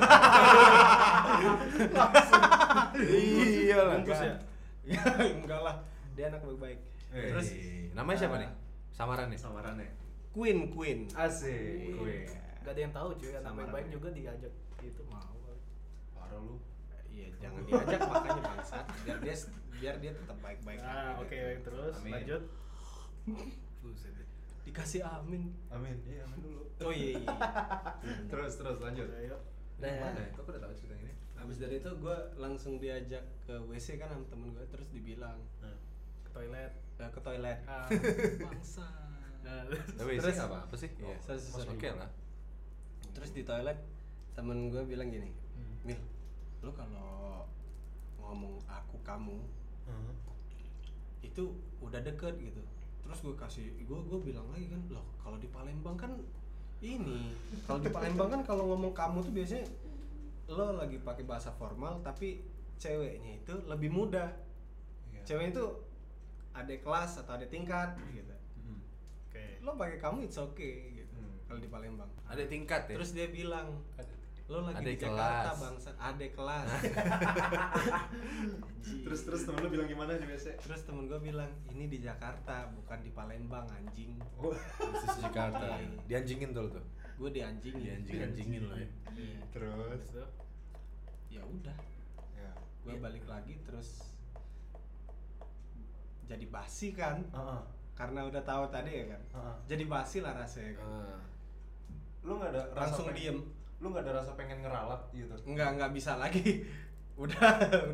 Speaker 3: Iya lah.
Speaker 1: Bungkus
Speaker 5: kan.
Speaker 1: ya?
Speaker 4: enggak lah dia anak baik-baik
Speaker 5: Eh,
Speaker 3: Terus
Speaker 5: iya, Nah,
Speaker 3: namanya siapa nih? Iya. Samaran ya? nih.
Speaker 5: Samarannya.
Speaker 4: queen queen Iya.
Speaker 5: Asik. Gue.
Speaker 1: Gak ada yang tahu cuy, anak
Speaker 5: Sama
Speaker 1: baik-baik
Speaker 5: orangnya.
Speaker 1: juga diajak gitu mau.
Speaker 5: Parah lu.
Speaker 4: Iya, jangan diajak makanya bangsat. Biar dia biar dia tetap baik-baik.
Speaker 1: Nah, oke terus
Speaker 5: Amin.
Speaker 1: lanjut.
Speaker 4: Dikasih amin.
Speaker 5: Amin. Iya, amin dulu.
Speaker 4: Oh iya. iya.
Speaker 5: Terus terus lanjut.
Speaker 1: Ayo.
Speaker 4: Nah,
Speaker 3: Mana ya? Kok udah tahu cerita ini?
Speaker 4: abis dari itu gue langsung diajak ke WC kan sama temen gue terus dibilang
Speaker 5: Nah.
Speaker 1: ke toilet.
Speaker 4: "Eh, ke toilet.
Speaker 1: Ah.
Speaker 4: Bangsa.
Speaker 1: Nah,
Speaker 3: Tapi sih
Speaker 4: Terus-
Speaker 3: apa apa sih? Iya.
Speaker 4: sorry, sorry.
Speaker 3: Oke lah.
Speaker 4: Terus di toilet temen gue bilang gini,
Speaker 1: Hmm.
Speaker 4: Mil, lu kalau ngomong aku kamu
Speaker 5: Hmm.
Speaker 4: itu udah deket gitu terus gue kasih gue gue bilang lagi kan loh kalau di Palembang kan ini kalau di Palembang kan kalau ngomong kamu tuh biasanya lo lagi pakai bahasa formal tapi ceweknya itu lebih muda
Speaker 3: Ya.
Speaker 5: Iya.
Speaker 4: cewek itu ada kelas atau ada tingkat gitu
Speaker 5: Hmm.
Speaker 1: Oke.
Speaker 4: lo pakai kamu it's okay gitu
Speaker 5: Hmm.
Speaker 4: kalau di Palembang
Speaker 3: Ada tingkat ya.
Speaker 4: terus dia bilang
Speaker 3: Ada tingkat.
Speaker 4: Lo lagi
Speaker 3: Adek
Speaker 4: di Jakarta
Speaker 3: kelas.
Speaker 4: bangsa, adek kelas.
Speaker 5: Terus terus temen lu bilang gimana sih biasa?
Speaker 4: Terus temen gue bilang ini di Jakarta bukan di Palembang anjing.
Speaker 3: Khusus Jakarta. Dianjingin tuh lo tuh.
Speaker 4: Gue dianjingin.
Speaker 3: Dianjing-anjingin lo ya.
Speaker 4: Iya.
Speaker 5: Terus.
Speaker 1: Terus tuh,
Speaker 4: Ya udah,
Speaker 5: Ya.
Speaker 4: gue balik lagi terus jadi basi kan
Speaker 5: Heeh.
Speaker 4: karena udah tahu tadi ya kan
Speaker 5: Heeh.
Speaker 4: jadi basi lah rasanya kan.
Speaker 3: Ah.
Speaker 5: Lu nggak ada rasa
Speaker 4: langsung
Speaker 5: pengen-
Speaker 4: diem
Speaker 5: Lu nggak ada rasa pengen ngeralat gitu?
Speaker 4: nggak nggak bisa lagi udah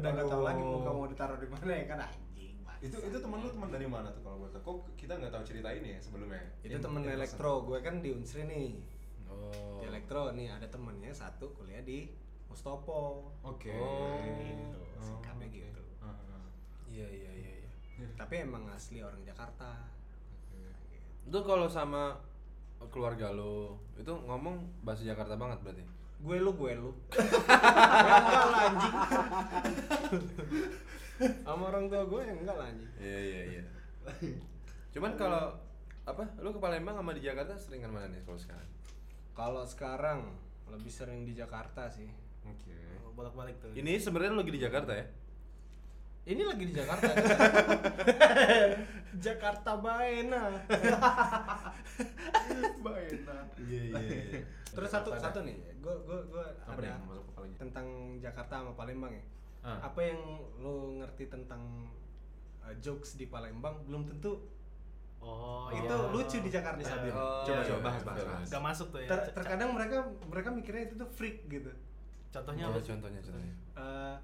Speaker 4: udah nggak tahu
Speaker 5: Aduh.
Speaker 4: lagi muka mau ditaruh di mana ya kan anjing bangsa.
Speaker 5: Itu itu temen lu temen dari mana tuh kalau gue tahu? Kok kita nggak tahu cerita ini ya sebelumnya?
Speaker 4: itu
Speaker 5: Ini in
Speaker 4: temen
Speaker 5: person.
Speaker 4: elektro gue kan di unsri nih
Speaker 3: Oh.
Speaker 4: di elektro nih ada temennya satu kuliah di Mustopo
Speaker 5: Oke.
Speaker 3: Oh.
Speaker 4: gitu sikapnya
Speaker 5: oke.
Speaker 4: gitu
Speaker 5: Ah, ah.
Speaker 3: Iya iya iya. iya.
Speaker 4: tapi emang asli orang Jakarta
Speaker 3: Itu kalau sama keluarga lo itu ngomong bahasa Jakarta banget berarti.
Speaker 4: gue lu gue lu enggak lah anjing sama orang tua gue enggak lah anjing
Speaker 3: Iya iya iya. Cuman kalau apa lu ke Palembang sama di Jakarta seringan mana nih kalau sekarang?
Speaker 4: kalau sekarang lebih sering di Jakarta sih
Speaker 5: Oke.
Speaker 1: bolak-balik tuh.
Speaker 3: Ini sebenarnya lu lagi di Jakarta ya?
Speaker 4: ini lagi di Jakarta Jakarta baena
Speaker 5: Baena.
Speaker 3: Iya iya iya.
Speaker 4: terus satu satu nih gue gue gue
Speaker 5: Apa nih
Speaker 4: ada
Speaker 5: yang masuk kepalanya?
Speaker 4: tentang Jakarta sama Palembang ya.
Speaker 5: Ah.
Speaker 4: Apa yang lo ngerti tentang uh, jokes di Palembang belum tentu
Speaker 1: Oh,
Speaker 4: itu
Speaker 1: iya.
Speaker 4: lucu di Jakarta.
Speaker 1: Iya.
Speaker 5: Sabir.
Speaker 3: Oh,
Speaker 5: Eh, coba
Speaker 3: iya,
Speaker 5: coba
Speaker 3: iya,
Speaker 5: bahas bahas.
Speaker 3: iya.
Speaker 5: bahas.
Speaker 1: Gak masuk tuh ya.
Speaker 4: Ter-
Speaker 1: Ca-
Speaker 4: terkadang mereka mereka mikirnya itu tuh freak gitu.
Speaker 1: Contohnya
Speaker 3: Iya,
Speaker 1: apa?
Speaker 3: contohnya contohnya.
Speaker 4: Uh,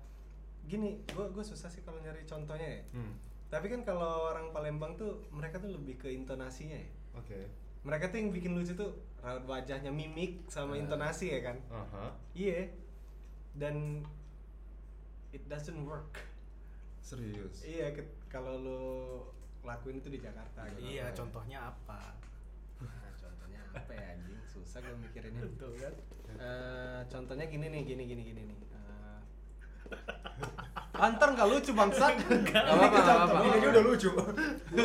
Speaker 4: gini, gue gue susah sih kalau nyari contohnya ya.
Speaker 5: Hmm.
Speaker 4: Tapi kan kalau orang Palembang tuh mereka tuh lebih ke intonasinya ya.
Speaker 5: Oke.
Speaker 4: Mereka tuh yang bikin lucu tuh raut wajahnya, mimik sama
Speaker 1: Eh.
Speaker 4: intonasi ya kan.
Speaker 5: Aha.
Speaker 4: Iya. Dan it doesn't work.
Speaker 5: Serius.
Speaker 4: Iya, ke- kalau lo lakuin itu di Jakarta. gitu.
Speaker 1: Iya, contohnya apa?
Speaker 4: Nah, contohnya apa ya anjing? Susah gue mikirinnya.
Speaker 1: Betul kan?
Speaker 4: Eh, contohnya gini nih, gini gini gini nih. Eh, Antar nggak lucu bangsat. Gak
Speaker 3: apa-apa, nggak apa-apa.
Speaker 5: Ini aja udah lucu.
Speaker 1: lu,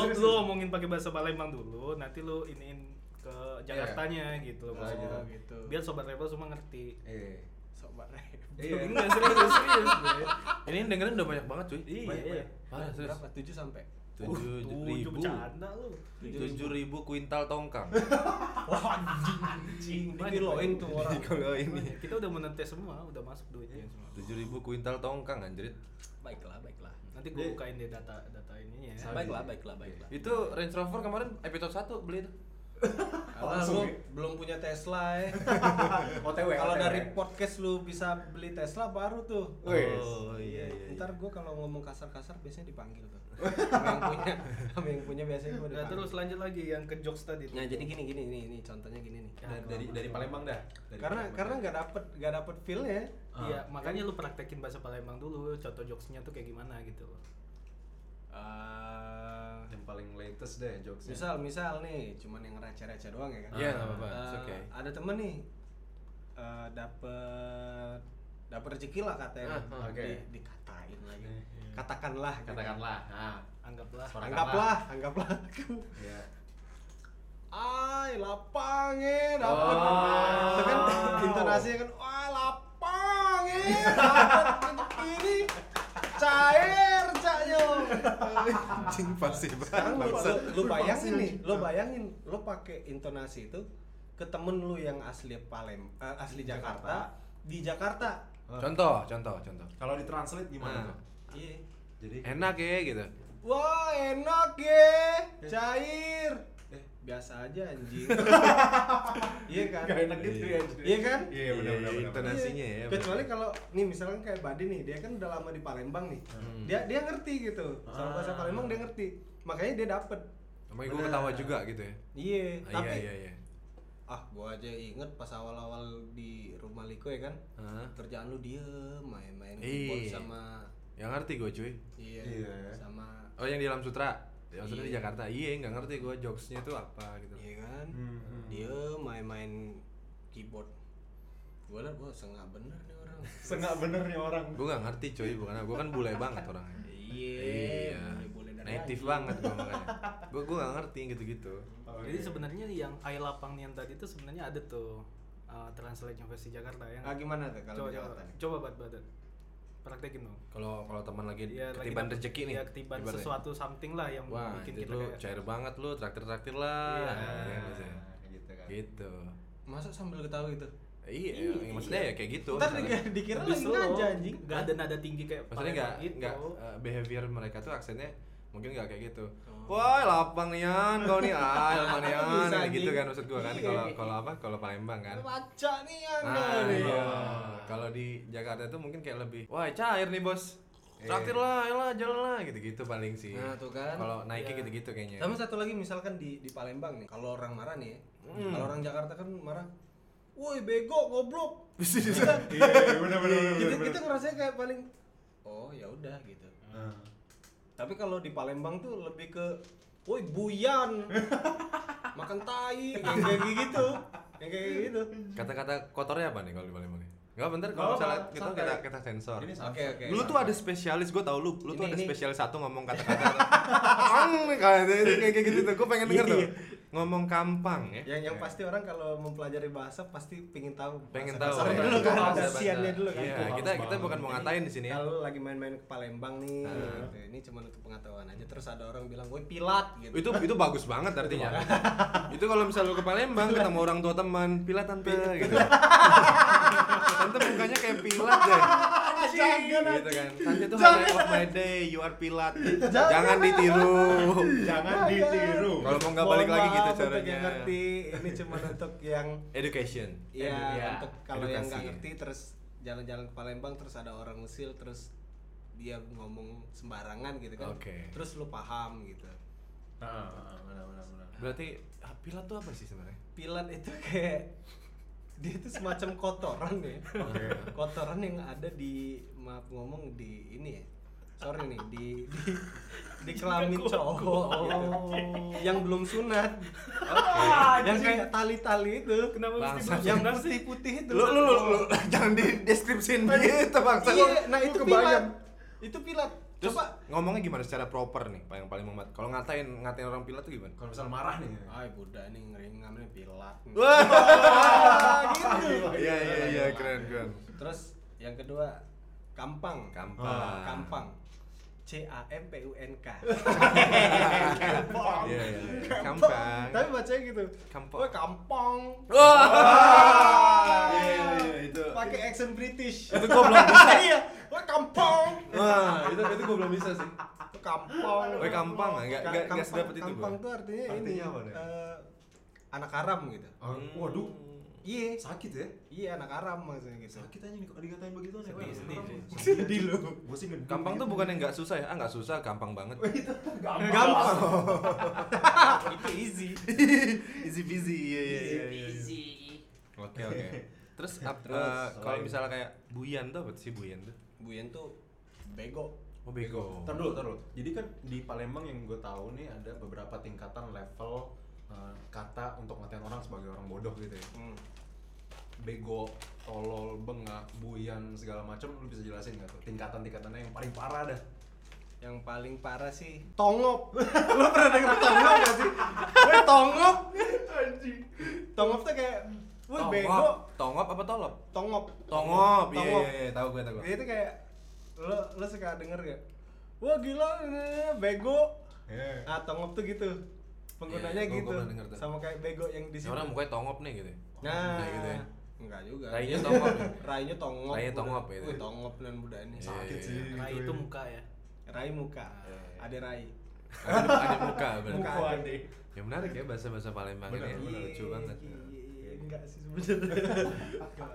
Speaker 1: lu, lu omongin pakai bahasa Palembang dulu, nanti lu iniin ke Jakartanya gitu loh
Speaker 5: Oh,
Speaker 1: maksudnya.
Speaker 4: Iya. gitu.
Speaker 1: Biar sobat rebel semua ngerti.
Speaker 5: Eh.
Speaker 4: Sobat
Speaker 5: Iya.
Speaker 1: Enggak serius serius. gue.
Speaker 3: Ah. Ini yang dengerin udah banyak banget cuy.
Speaker 1: Iya,
Speaker 3: Banyak,
Speaker 1: iya.
Speaker 3: banyak. Parah, serius.
Speaker 4: Berapa? 7 sampai.
Speaker 3: Tujuh
Speaker 1: Tujuh
Speaker 3: ribu.
Speaker 1: bercanda lu.
Speaker 3: Tujuh ribu kuintal tongkang.
Speaker 4: Wah, anjing.
Speaker 1: Banyak,
Speaker 4: Dikiloin tuh orang.
Speaker 3: kalau
Speaker 1: Banyak. Kita udah menetes semua, udah masuk duitnya semua.
Speaker 3: Tujuh ribu kuintal tongkang anjrit.
Speaker 4: Baiklah, baiklah.
Speaker 1: Nanti gue bukain deh data data ininya ya.
Speaker 5: Baik.
Speaker 4: Baiklah, baiklah, baiklah.
Speaker 3: Itu Range Rover kemarin episode 1 beli tuh.
Speaker 4: Karena
Speaker 5: Langsung
Speaker 4: lu
Speaker 5: ya?
Speaker 4: belum punya Tesla ya.
Speaker 5: OTW.
Speaker 4: Kalau
Speaker 5: OTW.
Speaker 4: dari podcast lu bisa beli Tesla baru tuh.
Speaker 5: Wes.
Speaker 3: Oh iya iya. iya.
Speaker 4: Ntar gue kalau ngomong kasar-kasar biasanya dipanggil tuh. Sama yang punya, sama yang punya biasanya gue
Speaker 1: Nah,
Speaker 4: dipanggil.
Speaker 1: terus lanjut lagi yang ke jokes tadi. tuh.
Speaker 4: Nah jadi gini gini nih nih contohnya gini
Speaker 1: Ya,
Speaker 4: nih.
Speaker 5: dari dari, dari Palembang dah. Dari
Speaker 4: karena
Speaker 5: Palembang.
Speaker 4: karena nggak dapet nggak dapet feel ya.
Speaker 1: Iya, makanya lu praktekin bahasa Palembang dulu, contoh jokesnya tuh kayak gimana gitu loh.
Speaker 5: yang paling latest deh jokesnya.
Speaker 4: misal misal nih cuman yang receh-receh doang ya kan.
Speaker 3: Iya, nggak apa-apa.
Speaker 4: Eh,
Speaker 3: It's okay.
Speaker 4: Ada temen nih eh, dapet dapet rezeki lah katanya.
Speaker 3: Ah, ah,
Speaker 5: oke.
Speaker 4: Di- dikatain lagi.
Speaker 3: iya.
Speaker 4: Katakanlah. gitu.
Speaker 5: Katakanlah. Nah.
Speaker 1: Anggaplah.
Speaker 4: Anggaplah, anggaplah.
Speaker 5: Iya.
Speaker 4: Ay, lapang eh, dapet.
Speaker 3: Oh.
Speaker 4: Itu kan intonasinya kan, wah lapang eh, dapet ini cair caknya.
Speaker 3: Anjing pasti
Speaker 4: Sekarang lu, lu, lu bayangin
Speaker 5: Pasti,
Speaker 4: nih, lu bayangin, lu pakai intonasi itu ke temen lu yang asli Palem, eh, asli Jakarta, di Jakarta.
Speaker 3: Contoh, contoh, contoh.
Speaker 5: Kalau ditranslate
Speaker 3: Ah.
Speaker 5: gimana tuh?
Speaker 4: Iya.
Speaker 5: Nah. Jadi
Speaker 3: Enak ya gitu.
Speaker 4: Wah enak ye, cair. Eh biasa aja anjing. Iya kan?
Speaker 5: Gak enak gitu ya. jadi.
Speaker 4: Iya kan?
Speaker 5: Iya benar benar
Speaker 3: Iya,
Speaker 5: benar.
Speaker 3: internet. Intonasinya
Speaker 4: Iya.
Speaker 3: ya,
Speaker 4: Kecuali kalau nih misalkan kayak Badi nih, dia kan udah lama di Palembang nih. Dia dia ngerti gitu. Soal bahasa Palembang dia ngerti. Makanya dia dapet.
Speaker 3: Sama gue ketawa juga gitu ya.
Speaker 4: Iya,
Speaker 3: Ah,
Speaker 4: tapi
Speaker 3: Iya iya iya.
Speaker 4: ah gua aja inget pas awal-awal di rumah Liko ya kan.
Speaker 3: Hah?
Speaker 4: Kerjaan lu diem, main-main
Speaker 3: Iya.
Speaker 4: keyboard sama
Speaker 3: Yang ngerti gue cuy.
Speaker 4: iya,
Speaker 5: Iya.
Speaker 4: sama
Speaker 3: Oh yang di Lam Sutra. Yang Sutra di
Speaker 4: Iya.
Speaker 3: Jakarta. Iya, nggak ngerti gue jokesnya tuh apa gitu.
Speaker 4: iya kan.
Speaker 5: Hmm,
Speaker 1: Mm-hmm.
Speaker 5: hmm.
Speaker 4: Dia main-main keyboard. Gua lah gua sengak bener nih orang.
Speaker 5: Sengak bener nih orang.
Speaker 3: Gue nggak ngerti cuy, bukan gue kan bule banget orangnya.
Speaker 4: Iya, boleh-boleh dari
Speaker 3: Native banget gue makanya. Gue gue nggak ngerti gitu-gitu.
Speaker 5: Oke.
Speaker 1: Jadi sebenarnya yang ai lapang nian tadi tuh sebenarnya ada tuh eh, translate Universitas Jakarta yang
Speaker 4: Nah, gimana tuh kalau
Speaker 1: coba
Speaker 4: di
Speaker 1: coba
Speaker 4: Jakarta nih?
Speaker 1: coba bat badan praktekin dong
Speaker 3: Kalau kalau teman lagi
Speaker 1: Iya, lagi
Speaker 3: ketiban
Speaker 1: dapet-
Speaker 3: rezeki nih.
Speaker 1: iya, ketiban
Speaker 3: ibaratnya.
Speaker 1: sesuatu something lah yang
Speaker 3: Wah,
Speaker 1: bikin
Speaker 3: itu
Speaker 1: kita
Speaker 3: lu
Speaker 1: kayak
Speaker 3: cair banget lu, traktir-traktir lah.
Speaker 1: Iya.
Speaker 3: Ya,
Speaker 4: Nah,
Speaker 3: gitu.
Speaker 4: gitu kan.
Speaker 3: Gitu.
Speaker 4: Masa sambil ketawa gitu?
Speaker 3: Iya, maksudnya ya kayak gitu.
Speaker 4: Ntar
Speaker 3: misalnya.
Speaker 4: dikira- dikira
Speaker 1: Tapi
Speaker 4: lagi
Speaker 1: slow,
Speaker 4: ngaja anjing.
Speaker 1: nggak ada nada tinggi kayak
Speaker 3: maksudnya
Speaker 1: Palembang
Speaker 3: nggak
Speaker 1: gitu.
Speaker 3: nggak eh, behavior mereka tuh aksennya mungkin nggak kayak gitu wah lapang nian kau nih ah lapang nian
Speaker 4: Bisa,
Speaker 3: Nah, gitu
Speaker 4: anjing.
Speaker 3: kan maksud gua kan
Speaker 4: Iya.
Speaker 3: kalau kalau apa kalau Palembang kan
Speaker 4: Maca nih Anda
Speaker 3: nah
Speaker 4: nih.
Speaker 3: iya kalau di Jakarta tuh mungkin kayak lebih wah cair nih bos traktir lah ayolah jalan lah gitu gitu paling sih
Speaker 4: Nah, tuh kan.
Speaker 3: kalau naiknya
Speaker 1: Iya.
Speaker 3: gitu gitu kayaknya
Speaker 4: Sama satu lagi misalkan di di Palembang nih, kalau orang marah nih, ya,
Speaker 3: Hmm.
Speaker 4: kalau orang Jakarta kan marah, woi bego goblok. kita,
Speaker 5: Iya, iya, bener bener bener,
Speaker 4: kita,
Speaker 5: bener, bener.
Speaker 4: kita ngerasanya kayak paling, oh ya udah gitu.
Speaker 5: Nah.
Speaker 4: Tapi kalau di Palembang tuh lebih ke, woi buyan, makan tai, yang kayak gitu, yang kayak gitu.
Speaker 3: kata-kata kotornya apa nih kalau di Palembang nih nggak bentar kalau
Speaker 5: Nggak
Speaker 3: misalnya
Speaker 5: apa,
Speaker 3: kita
Speaker 5: santai.
Speaker 3: kita kita sensor
Speaker 5: Ini santai.
Speaker 4: Oke oke.
Speaker 3: lu tuh ada spesialis, gue tau lu, lu tuh
Speaker 4: Ini-
Speaker 3: ada
Speaker 4: ini.
Speaker 3: spesialis satu ngomong kata-kata ang kayak kayak kayak gitu tuh, gue pengen denger tuh ngomong kampang ya.
Speaker 4: yang yang pasti orang kalau mempelajari bahasa pasti pengen tahu
Speaker 3: pengen tahu.
Speaker 4: bahasa kasar
Speaker 5: ya.
Speaker 4: dulu kan
Speaker 5: Bahasa-
Speaker 4: kasihannya dulu kan
Speaker 3: Iya,
Speaker 5: Itu harus
Speaker 3: kita kita
Speaker 5: banget.
Speaker 3: bukan mau ngatain di sini ya. Ah.
Speaker 4: kalau lagi main-main ke Palembang nih gitu. ini cuma untuk pengetahuan aja terus ada orang bilang woi pilat gitu
Speaker 3: Itu itu bagus banget artinya. itu kalau misal lu ke Palembang ketemu orang tua teman, pila tante gitu. tante mukanya kayak pilat deh.
Speaker 5: Ah, Iya,
Speaker 4: jangan
Speaker 3: gitu kan. Tante tuh highlight of my day, you are pilat. Jangan ditiru.
Speaker 5: Jangan ditiru.
Speaker 3: Kalau mau nggak balik lagi gitu
Speaker 4: yang
Speaker 3: caranya.
Speaker 4: ngerti ini cuma untuk yang
Speaker 3: Education.
Speaker 4: ya
Speaker 3: Edu-
Speaker 4: untuk kalau yang
Speaker 3: Iya,
Speaker 4: nggak
Speaker 3: Edukasi.
Speaker 4: ngerti terus jalan-jalan ke Palembang terus ada orang usil terus dia ngomong sembarangan gitu kan
Speaker 3: Oke.
Speaker 4: terus lu paham gitu
Speaker 5: Nah, bener bener bener.
Speaker 3: Berarti ah, pilat tuh apa sih sebenarnya?
Speaker 4: pilat itu kayak dia itu semacam kotoran ya kotoran yang ada di maaf ngomong di ini ya sorry nih di di, di kelamin cowok gitu.
Speaker 3: Oh.
Speaker 4: yang belum sunat yang kayak tali-tali itu
Speaker 1: kenapa mesti
Speaker 3: Bangsat.
Speaker 1: yang
Speaker 4: yang putih-putih itu
Speaker 3: Lu lu lu, lu, jangan di deskripsiin gitu bangsa.
Speaker 4: iya nah
Speaker 5: Lu
Speaker 4: itu pilat
Speaker 5: kebayang.
Speaker 4: itu pilat
Speaker 3: Terus
Speaker 4: coba
Speaker 3: ngomongnya gimana secara proper nih, paling paling memat. Kalau ngatain ngatain orang pilat tuh gimana?
Speaker 5: Kalau misal marah nih.
Speaker 4: ay budak nih ngeringamnya pilat nih.
Speaker 5: Ah,
Speaker 3: Wah,
Speaker 4: gitu.
Speaker 3: Iya iya iya keren keren.
Speaker 4: terus yang kedua kampang
Speaker 3: Kampang.
Speaker 4: Ah, kampang C A M P U N K
Speaker 3: Iya iya. Kampang.
Speaker 4: tapi bacanya gitu
Speaker 3: Kampang.
Speaker 4: Woi, kampang
Speaker 3: Wah. Iya iya iya, itu.
Speaker 4: pakai accent British
Speaker 3: Itu gua belum bisa.
Speaker 4: iya woi kampang
Speaker 3: Wah, itu itu gua belum bisa sih.
Speaker 4: Iya. kampang
Speaker 3: Woi, kampang, enggak enggak enggak
Speaker 4: Kampang-
Speaker 3: sedapat itu gua.
Speaker 4: kampang tuh artinya,
Speaker 5: Artinya apa
Speaker 4: ini
Speaker 5: deh?
Speaker 4: eh, anak haram gitu
Speaker 5: Oh, Waduh,
Speaker 4: iya
Speaker 5: sakit ya?
Speaker 4: iya anak haram maksudnya gitu
Speaker 5: Sakit aja nih kalau dikatain begitu nih.
Speaker 1: Sedih, sedih,
Speaker 4: sedih lu
Speaker 5: Gue sih ngedum
Speaker 3: Kampang
Speaker 5: gitu.
Speaker 3: tuh bukan yang nggak susah ya? Ah nggak susah, gampang banget.
Speaker 4: gampang itu easy
Speaker 3: Easy busy. Iya iya iya. Easy. Oke oke. Terus, ap-
Speaker 4: Terus,
Speaker 3: eh, kalau
Speaker 4: selain-
Speaker 3: misalnya kayak Buyan tuh apa sih Buyan tuh?
Speaker 4: Buyen tuh bego
Speaker 3: Oh bego.
Speaker 5: Ntar dulu, ntar dulu. Jadi kan di Palembang yang gue tahu nih ada beberapa tingkatan level eh, kata untuk ngatain orang sebagai orang bodoh gitu ya.
Speaker 4: Hmm.
Speaker 5: Bego, tolol, bengak, buyan, segala macam lu bisa jelasin nggak tuh tingkatan-tingkatannya yang paling parah dah.
Speaker 4: yang paling parah sih tongop lo pernah denger tongop gak sih Woi tongop tongop tuh kayak woi bego
Speaker 3: Tongop. Tongop apa tolop?
Speaker 4: tongop
Speaker 3: Tongop, iya
Speaker 4: Tongop.
Speaker 3: iya iya, tahu gue tahu. gue.
Speaker 4: itu kayak lo lo suka denger gak wah gila eh, bego
Speaker 5: Iya.
Speaker 4: ah tongop tuh gitu penggunanya
Speaker 3: Iya, gua-
Speaker 4: gitu
Speaker 3: gua pernah denger tuh.
Speaker 4: sama kayak bego yang di
Speaker 3: Ini
Speaker 4: sini
Speaker 3: orang mukanya tongop nih gitu.
Speaker 4: nah
Speaker 3: Kayak gitu ya.
Speaker 4: enggak juga
Speaker 3: Rainya tongop. ya?
Speaker 4: Rainya tongop
Speaker 3: Rainya tongop
Speaker 4: budak.
Speaker 3: gitu.
Speaker 4: Wih, tongop dan budak ini
Speaker 5: Sakit
Speaker 3: Iya,
Speaker 5: sih.
Speaker 3: iya.
Speaker 1: Rai
Speaker 5: gitu
Speaker 1: itu
Speaker 5: ya.
Speaker 1: muka ya
Speaker 4: rai muka ada rai
Speaker 3: Ada, ada muka berarti.
Speaker 4: Muka.
Speaker 5: deh.
Speaker 3: Ya menarik ya bahasa-bahasa Palembang ini.
Speaker 5: Benar,
Speaker 3: ya.
Speaker 5: benar.
Speaker 3: gitu. Lucu banget.
Speaker 4: Iya, iya, iya, enggak sih sebenarnya